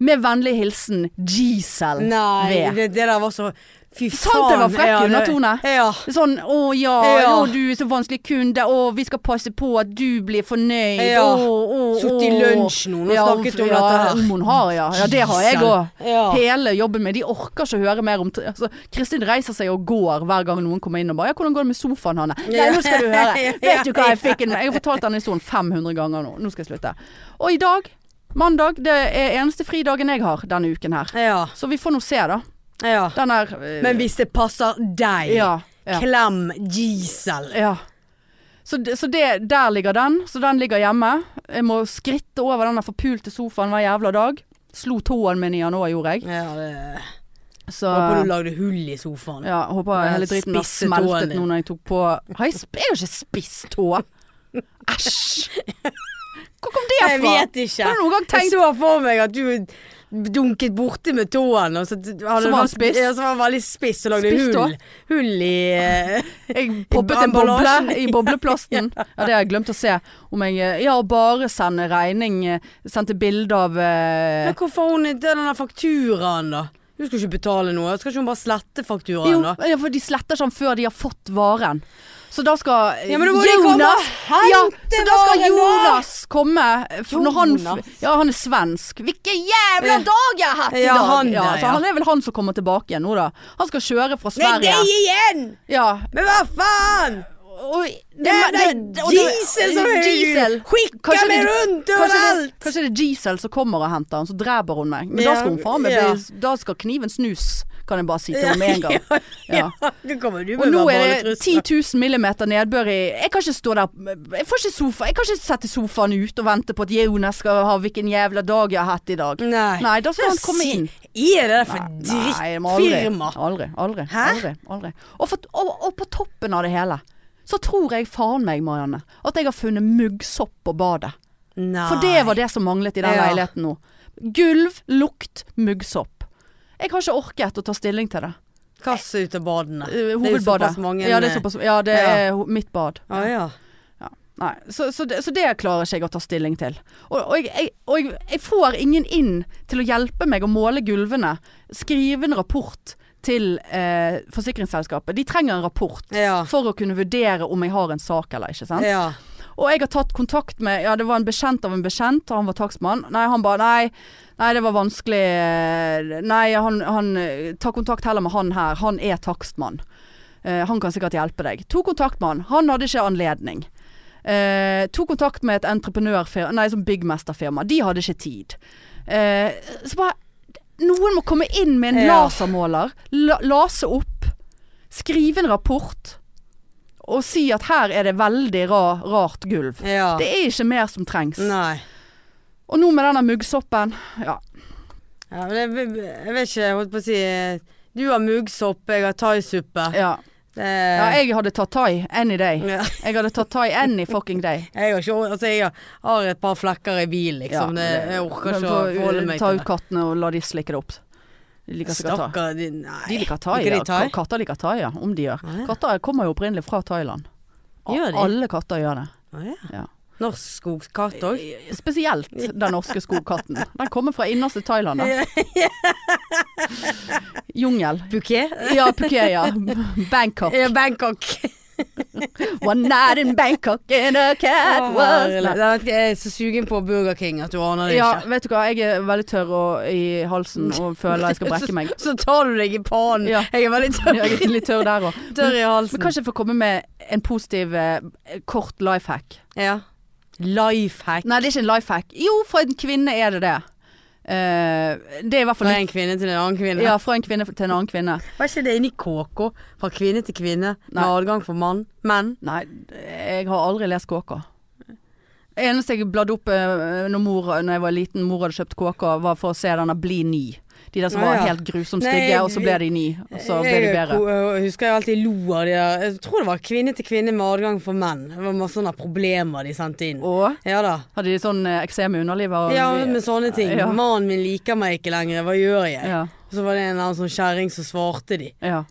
Speaker 1: Med vennlig hilsen Gisel V.
Speaker 2: Nei, det, det der var så Fy faen.
Speaker 1: Sant det var frekk
Speaker 2: ja, det-
Speaker 1: undertone.
Speaker 2: Ja.
Speaker 1: Sånn 'Å ja,
Speaker 2: Ja.
Speaker 1: å, du er så vanskelig kunde. Å, vi skal passe på at du blir fornøyd.
Speaker 2: Ja.
Speaker 1: Å, å, å.»
Speaker 2: Sittet i lunsj nå og snakket om
Speaker 1: ja,
Speaker 2: dette her.
Speaker 1: Om hun har, ja. ja det har jeg
Speaker 2: Gisel.
Speaker 1: òg.
Speaker 2: Ja.
Speaker 1: Hele jobben min. De orker ikke å høre mer om t- altså, Kristin reiser seg og går hver gang noen kommer inn og bare 'Ja, hvordan går det med sofaen, Hanne?' Nei, nå skal du høre. Vet du hva jeg fikk en Jeg har fortalt denne historien 500 ganger nå. Nå skal jeg slutte. Og i dag, mandag, det er eneste fridagen jeg har denne uken her.
Speaker 2: Ja.
Speaker 1: Så vi får nå se, da.
Speaker 2: ja.
Speaker 1: Den der eh,
Speaker 2: Men hvis det passer deg,
Speaker 1: ja, ja.
Speaker 2: klem Gisel.
Speaker 1: Ja. Så, det- så det, der ligger den. Så den ligger hjemme. Jeg må skritte over den der forpulte sofaen hver jævla dag. Slo tåen min i den òg, gjorde jeg.
Speaker 2: Ja, det
Speaker 1: Så
Speaker 2: Håper du lagde hull i sofaen.
Speaker 1: ja, håper
Speaker 2: Ja,
Speaker 1: hele driten har
Speaker 2: spisse tåen
Speaker 1: smeltet
Speaker 2: din.
Speaker 1: nå når jeg tok på Har jeg, sp jeg har jo ikke spist tå! Æsj! Hvor kom det fra?
Speaker 2: Jeg vet ikke.
Speaker 1: Har du noen gang
Speaker 2: Jeg
Speaker 1: tenkt
Speaker 2: så for meg at du dunket borti med tåen, og så hadde
Speaker 1: Som
Speaker 2: du-
Speaker 1: var spiss?
Speaker 2: Ja, som var veldig spiss, og lagde
Speaker 1: Spiss
Speaker 2: hull. Hull i eh,
Speaker 1: Jeg poppet en
Speaker 2: emballasjen.
Speaker 1: boble i bobleplasten. Ja, det har jeg glemt å se. Om jeg eh, Ja, bare sende regning. eh, Sendte bilde av eh,
Speaker 2: Men hvorfor har hun ikke den der fakturaen, da? Hun skal ikke betale noe. Skal ikke hun bare slette fakturaen, da?
Speaker 1: Jo, ja, for de sletter sånn før de har fått varen. Så da skal eh,
Speaker 2: Ja, men da må de komme og
Speaker 1: ja,
Speaker 2: hente
Speaker 1: Så da skal
Speaker 2: varen, da!
Speaker 1: Jonas komme. eh, for Når han, f-
Speaker 2: Jonas.
Speaker 1: ja, han er svensk. 'Hvilken
Speaker 2: Ja.
Speaker 1: jævla dag jeg har hatt i
Speaker 2: Ja,
Speaker 1: dag!'
Speaker 2: han
Speaker 1: ja,
Speaker 2: der,
Speaker 1: så
Speaker 2: ja.
Speaker 1: han er vel han som kommer tilbake igjen nå, da. Han skal kjøre fra Sverige.
Speaker 2: igjen!
Speaker 1: Ja,
Speaker 2: Men hva faen!
Speaker 1: og
Speaker 2: Det er det,
Speaker 1: og
Speaker 2: Gisel som er
Speaker 1: Gisel.
Speaker 2: Skikker
Speaker 1: Kanskje
Speaker 2: meg
Speaker 1: det-
Speaker 2: rundt
Speaker 1: Kanskje det,
Speaker 2: overalt!
Speaker 1: kanskje det er Gisel som kommer og henter han, så dreper hun meg. Men
Speaker 2: Ja,
Speaker 1: da skal hun faen meg
Speaker 2: ja.
Speaker 1: bli Da skal kniven snus, kan jeg bare si til henne med en gang. Ja.
Speaker 2: Ja, nå kommer du
Speaker 1: Og
Speaker 2: med
Speaker 1: nå er
Speaker 2: verbale
Speaker 1: det 10
Speaker 2: trusler.
Speaker 1: 000 millimeter nedbør i Jeg kan ikke stå der Jeg får ikke sofa Jeg kan ikke sette sofaen ut og vente på at Jonas skal ha hvilken jævla dag jeg har hatt i dag.
Speaker 2: Nei.
Speaker 1: Nei, da skal han komme
Speaker 2: Si-
Speaker 1: inn.
Speaker 2: Er det der for
Speaker 1: Nei, jeg må aldri-
Speaker 2: drittfirma?
Speaker 1: Aldri. Aldri.
Speaker 2: Hæ?
Speaker 1: aldri, aldri. Og, for, og, og på toppen av det hele så tror jeg faen meg, Marianne, at jeg har funnet muggsopp på badet.
Speaker 2: Nei.
Speaker 1: For det var det som manglet i den
Speaker 2: Ja.
Speaker 1: leiligheten nå. Gulv, lukt, muggsopp. Jeg har ikke orket å ta stilling til det.
Speaker 2: Kast ut av badene.
Speaker 1: Eh, Hovedbadet.
Speaker 2: såpass mange- eh,
Speaker 1: ja, det er, såpass, ja, det
Speaker 2: Ja.
Speaker 1: er ho- mitt bad.
Speaker 2: Å ja.
Speaker 1: Nei, så, så, det, så det klarer ikke jeg å ta stilling til. Og, og, jeg, jeg, og jeg, jeg får ingen inn til å hjelpe meg å måle gulvene. Skrive en rapport til eh, forsikringsselskapet. De trenger en rapport
Speaker 2: Ja.
Speaker 1: for å kunne vurdere om jeg har en sak eller ikke. Sant?
Speaker 2: ja.
Speaker 1: Og jeg har tatt kontakt med Ja, det var en bekjent av en bekjent, og han var takstmann. Nei, han ba nei. Nei, det var vanskelig. eh, Nei, han, han eh, Ta kontakt heller med han her. Han er takstmann. Eh, han kan sikkert hjelpe deg. To kontakt med han. Han hadde ikke anledning. Eh, to kontakt med et entreprenørfirma Nei, som byggmesterfirma. De hadde ikke tid. Eh, så bare Noen må komme inn med en
Speaker 2: Ja.
Speaker 1: lasermåler. La, lase opp. Skrive en rapport. Og si at her er det veldig ra, rart gulv.
Speaker 2: ja.
Speaker 1: Det er ikke mer som trengs.
Speaker 2: Nei.
Speaker 1: Og nå med denne muggsoppen Ja.
Speaker 2: Ja, men jeg, jeg vet ikke, jeg holdt på å si eh, Du har muggsopp, jeg har thaisuppe.
Speaker 1: ja.
Speaker 2: Det-
Speaker 1: ja jeg hadde tatt thai any day.
Speaker 2: Ja.
Speaker 1: Jeg hadde tatt thai any fucking day.
Speaker 2: Jeg har ikke Altså, jeg har, har et par flekker i bilen, liksom.
Speaker 1: Ja,
Speaker 2: det, jeg orker
Speaker 1: men
Speaker 2: ikke å
Speaker 1: får, uh,
Speaker 2: forholde meg
Speaker 1: Ta
Speaker 2: til
Speaker 1: ut kattene og la de slikke det opp. De liker sikkert thai.
Speaker 2: Stakkar, de, nei.
Speaker 1: De liker thai,
Speaker 2: Liker de
Speaker 1: ja.
Speaker 2: thai?
Speaker 1: Ka- Katter liker thai, ja. Om de gjør.
Speaker 2: Å, ja.
Speaker 1: Katter kommer jo opprinnelig fra Thailand. A-
Speaker 2: Gjør de?
Speaker 1: Alle katter gjør det.
Speaker 2: Å, ja.
Speaker 1: Ja.
Speaker 2: Norsk skogskatt òg.
Speaker 1: Spesielt den norske skogkatten. Den kommer fra innerste Thailand. da. Jungel.
Speaker 2: Buket?
Speaker 1: Ja, Phuket, ja. Bangkok.
Speaker 2: Ja, Bangkok.
Speaker 1: One night in Bangkok in a
Speaker 2: Ah,
Speaker 1: cat was
Speaker 2: Herlig.
Speaker 1: Nei.
Speaker 2: Nei, Jeg er så sugen på Burger King at du aner det
Speaker 1: Ja,
Speaker 2: ikke.
Speaker 1: vet du hva. Jeg er veldig tørr og, i halsen og føler jeg skal brekke meg.
Speaker 2: Så, så tar du deg i pannen.
Speaker 1: Ja.
Speaker 2: Jeg er veldig tørr,
Speaker 1: Jeg er litt tørr der òg.
Speaker 2: tørr i halsen.
Speaker 1: Men kanskje jeg får komme med en positiv, eh, kort life hack.
Speaker 2: ja. Lifehack.
Speaker 1: Nei, det er ikke en life hack. Jo, for en kvinne er det det. Eh, det er i hvert fall
Speaker 2: Fra en kvinne til en annen kvinne.
Speaker 1: Ja, fra en kvinne til en annen kvinne.
Speaker 2: Var ikke det inni KK? Fra kvinne til kvinne, med
Speaker 1: Nei.
Speaker 2: adgang for mann. Menn.
Speaker 1: Nei, jeg har aldri lest KK. Eneste jeg bladde opp eh, når, mor, når jeg var liten, mor hadde kjøpt KK, var for å se denne Bli ny. De der som
Speaker 2: Å,
Speaker 1: var
Speaker 2: ja.
Speaker 1: helt grusomt
Speaker 2: Nei,
Speaker 1: stygge,
Speaker 2: jeg-
Speaker 1: og så ble de ny, og så ble de
Speaker 2: Jeg
Speaker 1: bedre.
Speaker 2: ko- øh, husker jeg alltid lo av de der Jeg tror det var kvinne til kvinne med adgang for menn. Det var masse sånne problemer de sendte inn.
Speaker 1: Og
Speaker 2: Ja da.
Speaker 1: hadde de sånn eh, eksem i underlivet? og-
Speaker 2: Ja, med sånne ting.
Speaker 1: Ja.
Speaker 2: Mannen min liker meg ikke lenger, hva gjør jeg?
Speaker 1: ja,
Speaker 2: Så var det en eller annen sånn kjerring som svarte de.
Speaker 1: ja.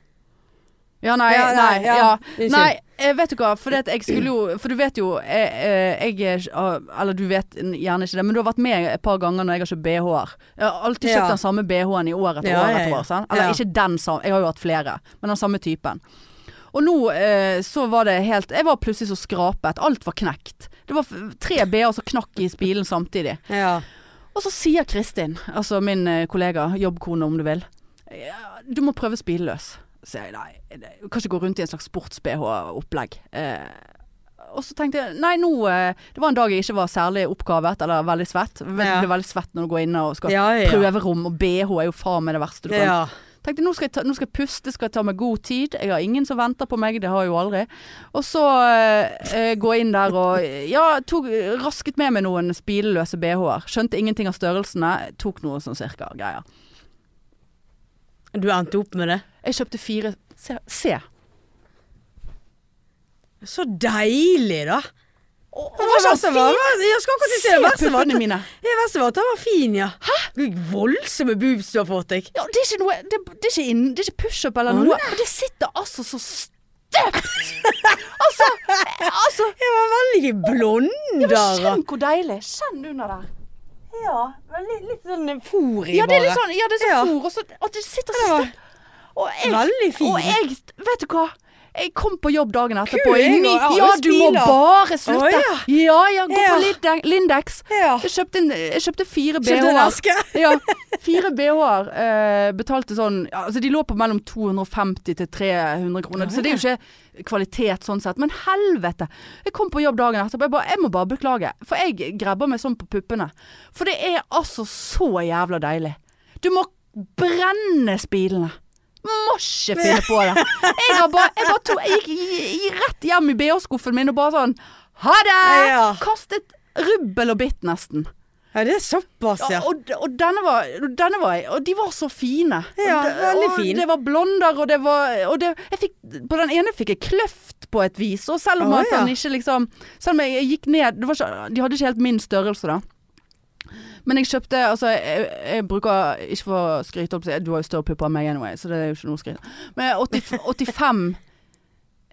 Speaker 1: Ja, nei,
Speaker 2: Ja, nei,
Speaker 1: nei,
Speaker 2: ja.
Speaker 1: ja.
Speaker 2: Unnskyld.
Speaker 1: nei eh, vet du hva, for, det at jeg skulle jo, for du vet jo jeg, eh, jeg er ikke- ah, Eller du vet gjerne ikke det, men du har vært med et par ganger når jeg har kjøpt BH-er. Jeg har alltid kjøpt
Speaker 2: Ja.
Speaker 1: den samme BH-en i år etter
Speaker 2: Ja,
Speaker 1: år
Speaker 2: ja,
Speaker 1: etter
Speaker 2: ja.
Speaker 1: år. Sant? Eller
Speaker 2: Ja.
Speaker 1: ikke den samme, jeg har jo hatt flere, men den samme typen. Og nå eh, så var det helt Jeg var plutselig så skrapet. Alt var knekt. Det var f- tre BH-er som knakk i spilen samtidig.
Speaker 2: Ja.
Speaker 1: Og så sier Kristin, altså min eh, kollega, jobbkone om du vil, ja, du må prøve spilløs. Så sier jeg nei, det- du kan ikke gå rundt i en slags sports-BH-opplegg. Eh, og så tenkte jeg nei, nå eh, Det var en dag jeg ikke var særlig oppgavet eller veldig svett. Du vet,
Speaker 2: Ja.
Speaker 1: Du blir veldig svett når du går inne og skal
Speaker 2: Ja, ja.
Speaker 1: prøverom, og BH er jo faen meg det verste du kan
Speaker 2: ja.
Speaker 1: Tenkte nå skal, jeg ta, nå skal jeg puste, skal jeg ta meg god tid. Jeg har ingen som venter på meg, det har jeg jo aldri. Og så eh, eh, gå inn der og Ja, tok, rasket med meg noen spilløse BH-er. Skjønte ingenting av størrelsene. Tok noe sånn cirka greier.
Speaker 2: Du endte opp med det?
Speaker 1: Jeg kjøpte fire Se. se.
Speaker 2: Så deilig, da.
Speaker 1: Og,
Speaker 2: Det
Speaker 1: og var
Speaker 2: var
Speaker 1: ikke
Speaker 2: verste
Speaker 1: han
Speaker 2: var,
Speaker 1: fin?
Speaker 2: jeg skal akkurat si det
Speaker 1: Se
Speaker 2: verste var at
Speaker 1: puppene mine.
Speaker 2: Det verste var at han var fin, ja. Hæ? Gud, voldsomme boobs du har fått deg.
Speaker 1: Ja, det er ikke noe Det, det er ikke, inn- det er ikke pushup eller
Speaker 2: Å,
Speaker 1: noe. Men det sitter altså så støpt! altså, altså
Speaker 2: Jeg var veldig blonder.
Speaker 1: Kjenn hvor deilig. Kjenn under der.
Speaker 2: Ja, litt, litt sånn fôr i
Speaker 1: Ja, det er litt sånn, ja, det er sånn
Speaker 2: Ja.
Speaker 1: fôr, og så, at det sitter
Speaker 2: Det
Speaker 1: så
Speaker 2: var
Speaker 1: sterkt. Og jeg,
Speaker 2: veldig fin.
Speaker 1: Og jeg, vet du hva? Jeg kom på jobb dagen etterpå.
Speaker 2: Kul, jeg
Speaker 1: i ni-
Speaker 2: og- ja,
Speaker 1: ja,
Speaker 2: og
Speaker 1: du må
Speaker 2: spiler.
Speaker 1: bare slutte.
Speaker 2: Å,
Speaker 1: ja. ja, gå
Speaker 2: Ja.
Speaker 1: på Linde- Lindex.
Speaker 2: Ja.
Speaker 1: Jeg kjøpte, en, jeg kjøpte fire
Speaker 2: Kjøpte en
Speaker 1: BH-er.
Speaker 2: aske.
Speaker 1: Ja, fire BH-er eh, betalte sånn ja, altså De lå på mellom 250 til 300 kroner. Så det er jo ikke kvalitet sånn sett. Men helvete! Jeg kom på jobb dagen etterpå. Jeg, bare, jeg må bare beklage. For jeg grabber meg sånn på puppene. For det er altså så jævla deilig. Du må brenne spilene. Må ikke finne på det. Jeg, har bare, jeg, bare tog, jeg gikk i- i- rett hjem i BH-skuffen min og bare sånn Ha det!
Speaker 2: Ja.
Speaker 1: Kastet rubbel og bitt, nesten.
Speaker 2: sånn- Ja, det er såpass, ja.
Speaker 1: Ja, og, og denne var, og denne var Og de var så fine.
Speaker 2: Ja,
Speaker 1: og de,
Speaker 2: veldig
Speaker 1: og
Speaker 2: fin.
Speaker 1: Det var blonder, og det var og det, jeg fikk, På den ene fikk jeg kløft på et vis, og selv om
Speaker 2: Å,
Speaker 1: at den
Speaker 2: ja.
Speaker 1: ikke liksom Selv om jeg, jeg gikk ned det var ikke, De hadde ikke helt min størrelse, da. Men jeg kjøpte Altså, jeg, jeg bruker Ikke for å skryte, opp, du har jo større pupper enn meg anyway, så det er jo ikke noe å skryte Men 80, 85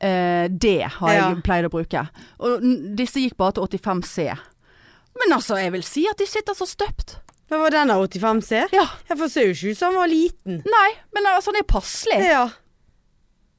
Speaker 1: eh, D har jeg
Speaker 2: Ja.
Speaker 1: pleid å bruke. Og n- disse gikk bare til 85 C. Men altså, jeg vil si at de sitter så støpt.
Speaker 2: Men var den av 85 C?
Speaker 1: Ja.
Speaker 2: Jeg får ser jo ikke ut som han var liten.
Speaker 1: Nei, men altså, den er passelig.
Speaker 2: Ja.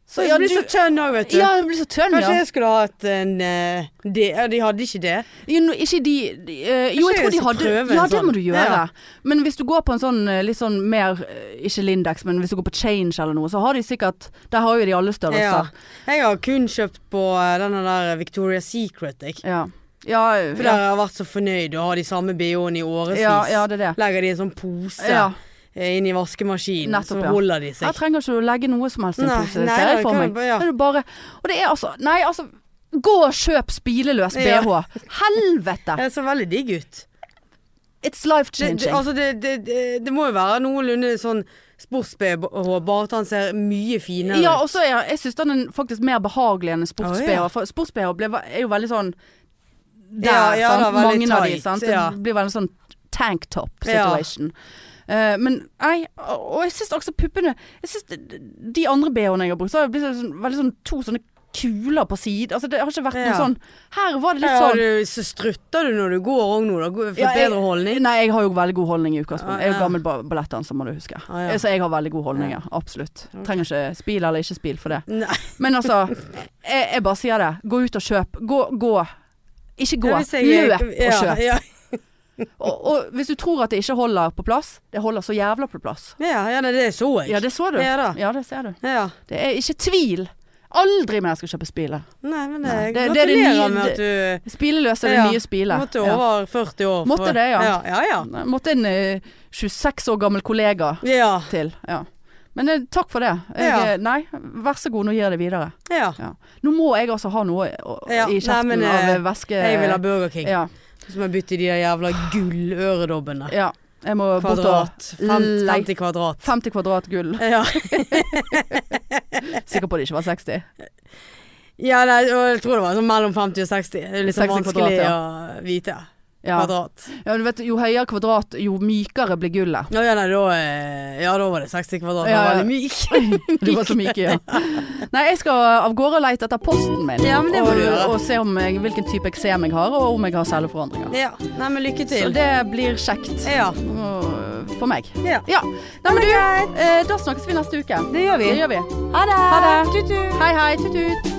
Speaker 2: Så jeg blir så tønn òg, vet du.
Speaker 1: Ja, den blir så tønn,
Speaker 2: Kanskje
Speaker 1: ja.
Speaker 2: jeg skulle hatt en eh, det- Ja, de hadde ikke det.
Speaker 1: Jo, nå- ikke de, de eh, Jo,
Speaker 2: Kanskje
Speaker 1: jeg tror de
Speaker 2: jeg skal
Speaker 1: hadde
Speaker 2: prøve en
Speaker 1: Ja, det må
Speaker 2: sånn.
Speaker 1: du gjøre.
Speaker 2: Ja.
Speaker 1: Men hvis du går på en sånn eh, litt sånn mer eh, Ikke Lindex, men hvis du går på Change eller noe, så har de sikkert Der har jo de alle
Speaker 2: Ja.
Speaker 1: størrelser.
Speaker 2: Jeg har kun kjøpt på eh, denne der Victoria's Secret, jeg.
Speaker 1: Ja. Ja, eh,
Speaker 2: For
Speaker 1: ja,
Speaker 2: der har jeg vært så fornøyd og har de samme BH-ene i årevis.
Speaker 1: ja, ja det er det.
Speaker 2: Legger de i en sånn pose
Speaker 1: Ja.
Speaker 2: eh, inn i vaskemaskinen,
Speaker 1: Nettopp,
Speaker 2: så
Speaker 1: ja.
Speaker 2: holder de
Speaker 1: Jeg
Speaker 2: seg.
Speaker 1: trenger ikke å legge noe som helst i en
Speaker 2: Nei,
Speaker 1: pose, det
Speaker 2: nei,
Speaker 1: ser
Speaker 2: nei,
Speaker 1: jeg for
Speaker 2: kan
Speaker 1: meg.
Speaker 2: du bare- ja.
Speaker 1: Det er jo bare, og det er altså Nei, altså. Gå og kjøp spileløs
Speaker 2: Ja.
Speaker 1: BH. Helvete!
Speaker 2: Det ser veldig digg ut.
Speaker 1: It's life
Speaker 2: Det, det,
Speaker 1: changing.
Speaker 2: altså det, det, det, det må jo være noenlunde sånn sports-BH, bare at han ser mye finere
Speaker 1: Ja,
Speaker 2: ut.
Speaker 1: og så er jeg synes den er faktisk mer behagelig enn en
Speaker 2: Å,
Speaker 1: sports-BH.
Speaker 2: ja.
Speaker 1: For sports-BH ble- er jo veldig sånn der,
Speaker 2: Ja, ja,
Speaker 1: sant.
Speaker 2: da, veldig
Speaker 1: Mange av de,
Speaker 2: tight,
Speaker 1: sant.
Speaker 2: ja.
Speaker 1: Det blir veldig sånn tanktop situation. Eh, men nei, og og jeg syns også puppene Jeg synes de- De andre BH-ene jeg har brukt, så har det blitt sånn, veldig sånn to sånne kuler på siden. Altså det har ikke vært noe
Speaker 2: Ja.
Speaker 1: sånn Her var det litt
Speaker 2: Her har
Speaker 1: sånn
Speaker 2: du, så strutter du når du går òg nå, da. Gå- Fått
Speaker 1: Ja, jeg-
Speaker 2: bedre holdning.
Speaker 1: Nei, jeg har jo veldig god holdning i utgangspunktet. Jeg
Speaker 2: Ah,
Speaker 1: er
Speaker 2: ja.
Speaker 1: jo gammel ba- ballettdanser, må du huske.
Speaker 2: Ah, ja.
Speaker 1: Så jeg har veldig god holdning, ja. Absolutt. Trenger ikke spil eller ikke spil for det.
Speaker 2: Nei,
Speaker 1: Men altså, jeg, jeg bare sier det. Gå ut og kjøp. Gå. gå. Ikke gå.
Speaker 2: hvis jeg-
Speaker 1: Løp og
Speaker 2: ja,
Speaker 1: kjøp.
Speaker 2: Ja,
Speaker 1: Og, og hvis du tror at det ikke holder på plass, det holder så jævla på plass.
Speaker 2: ja, ja nei, det så jeg.
Speaker 1: Ja, det så du.
Speaker 2: Ja da.
Speaker 1: Ja, det ser du.
Speaker 2: Ja.
Speaker 1: Det er ikke tvil. Aldri mer skal jeg kjøpe spile.
Speaker 2: Nei, men
Speaker 1: Nei,
Speaker 2: jeg
Speaker 1: det- det er det
Speaker 2: gratulerer
Speaker 1: nye-
Speaker 2: med at du
Speaker 1: Spileløs er det
Speaker 2: Ja,
Speaker 1: nye spile.
Speaker 2: måtte
Speaker 1: Ja.
Speaker 2: over 40 år.
Speaker 1: Måtte det, ja.
Speaker 2: Ja, ja. ja.
Speaker 1: Måtte en eh, 26 år gammel kollega
Speaker 2: ja,
Speaker 1: til. Ja. Men eh, takk for det. Jeg,
Speaker 2: Ja.
Speaker 1: eh, Nei, vær så god, nå gir jeg det videre.
Speaker 2: ja.
Speaker 1: Ja. Nå må jeg altså ha noe å-
Speaker 2: Ja,
Speaker 1: i kjeften
Speaker 2: nei, men, eh,
Speaker 1: av eh, væske...
Speaker 2: Jeg vil ha Burger King.
Speaker 1: ja.
Speaker 2: Så må jeg bytte i de der jævla gulløredobbene.
Speaker 1: Ja, jeg må bort og
Speaker 2: Kvadrat. Fem-
Speaker 1: Lei.
Speaker 2: 50 kvadrat.
Speaker 1: 50 kvadrat gull.
Speaker 2: Ja.
Speaker 1: Sikker på det ikke var 60.
Speaker 2: ja, nei, og jeg tror det var sånn mellom 50 og 60. Det er litt sånn
Speaker 1: 60
Speaker 2: vanskelig
Speaker 1: kvadrat,
Speaker 2: å vite.
Speaker 1: Ja.
Speaker 2: Kvadrat.
Speaker 1: ja, men du vet, jo høyere kvadrat, jo mykere blir gullet.
Speaker 2: Ja, ja, nei, da, eh, ja, da var det 60 kvadrat.
Speaker 1: Ja,
Speaker 2: Det var
Speaker 1: ja.
Speaker 2: veldig myk.
Speaker 1: Du var så myke, ja. Nei, jeg skal av gårde og lete etter posten min.
Speaker 2: Ja, men det må
Speaker 1: og,
Speaker 2: du gjøre.
Speaker 1: og se om jeg, hvilken type eksem jeg har, og om jeg har celleforandringer.
Speaker 2: Ja. Nei, men lykke
Speaker 1: Så
Speaker 2: til.
Speaker 1: det blir kjekt
Speaker 2: Ja.
Speaker 1: øh, for meg.
Speaker 2: ja.
Speaker 1: Ja. Nei, men du, eh, da snakkes vi neste uke.
Speaker 2: Det gjør vi.
Speaker 1: Det gjør vi.
Speaker 2: Ha det.
Speaker 1: Ha det.
Speaker 2: Tut, tut.
Speaker 1: Hei, hei. Tut-tut.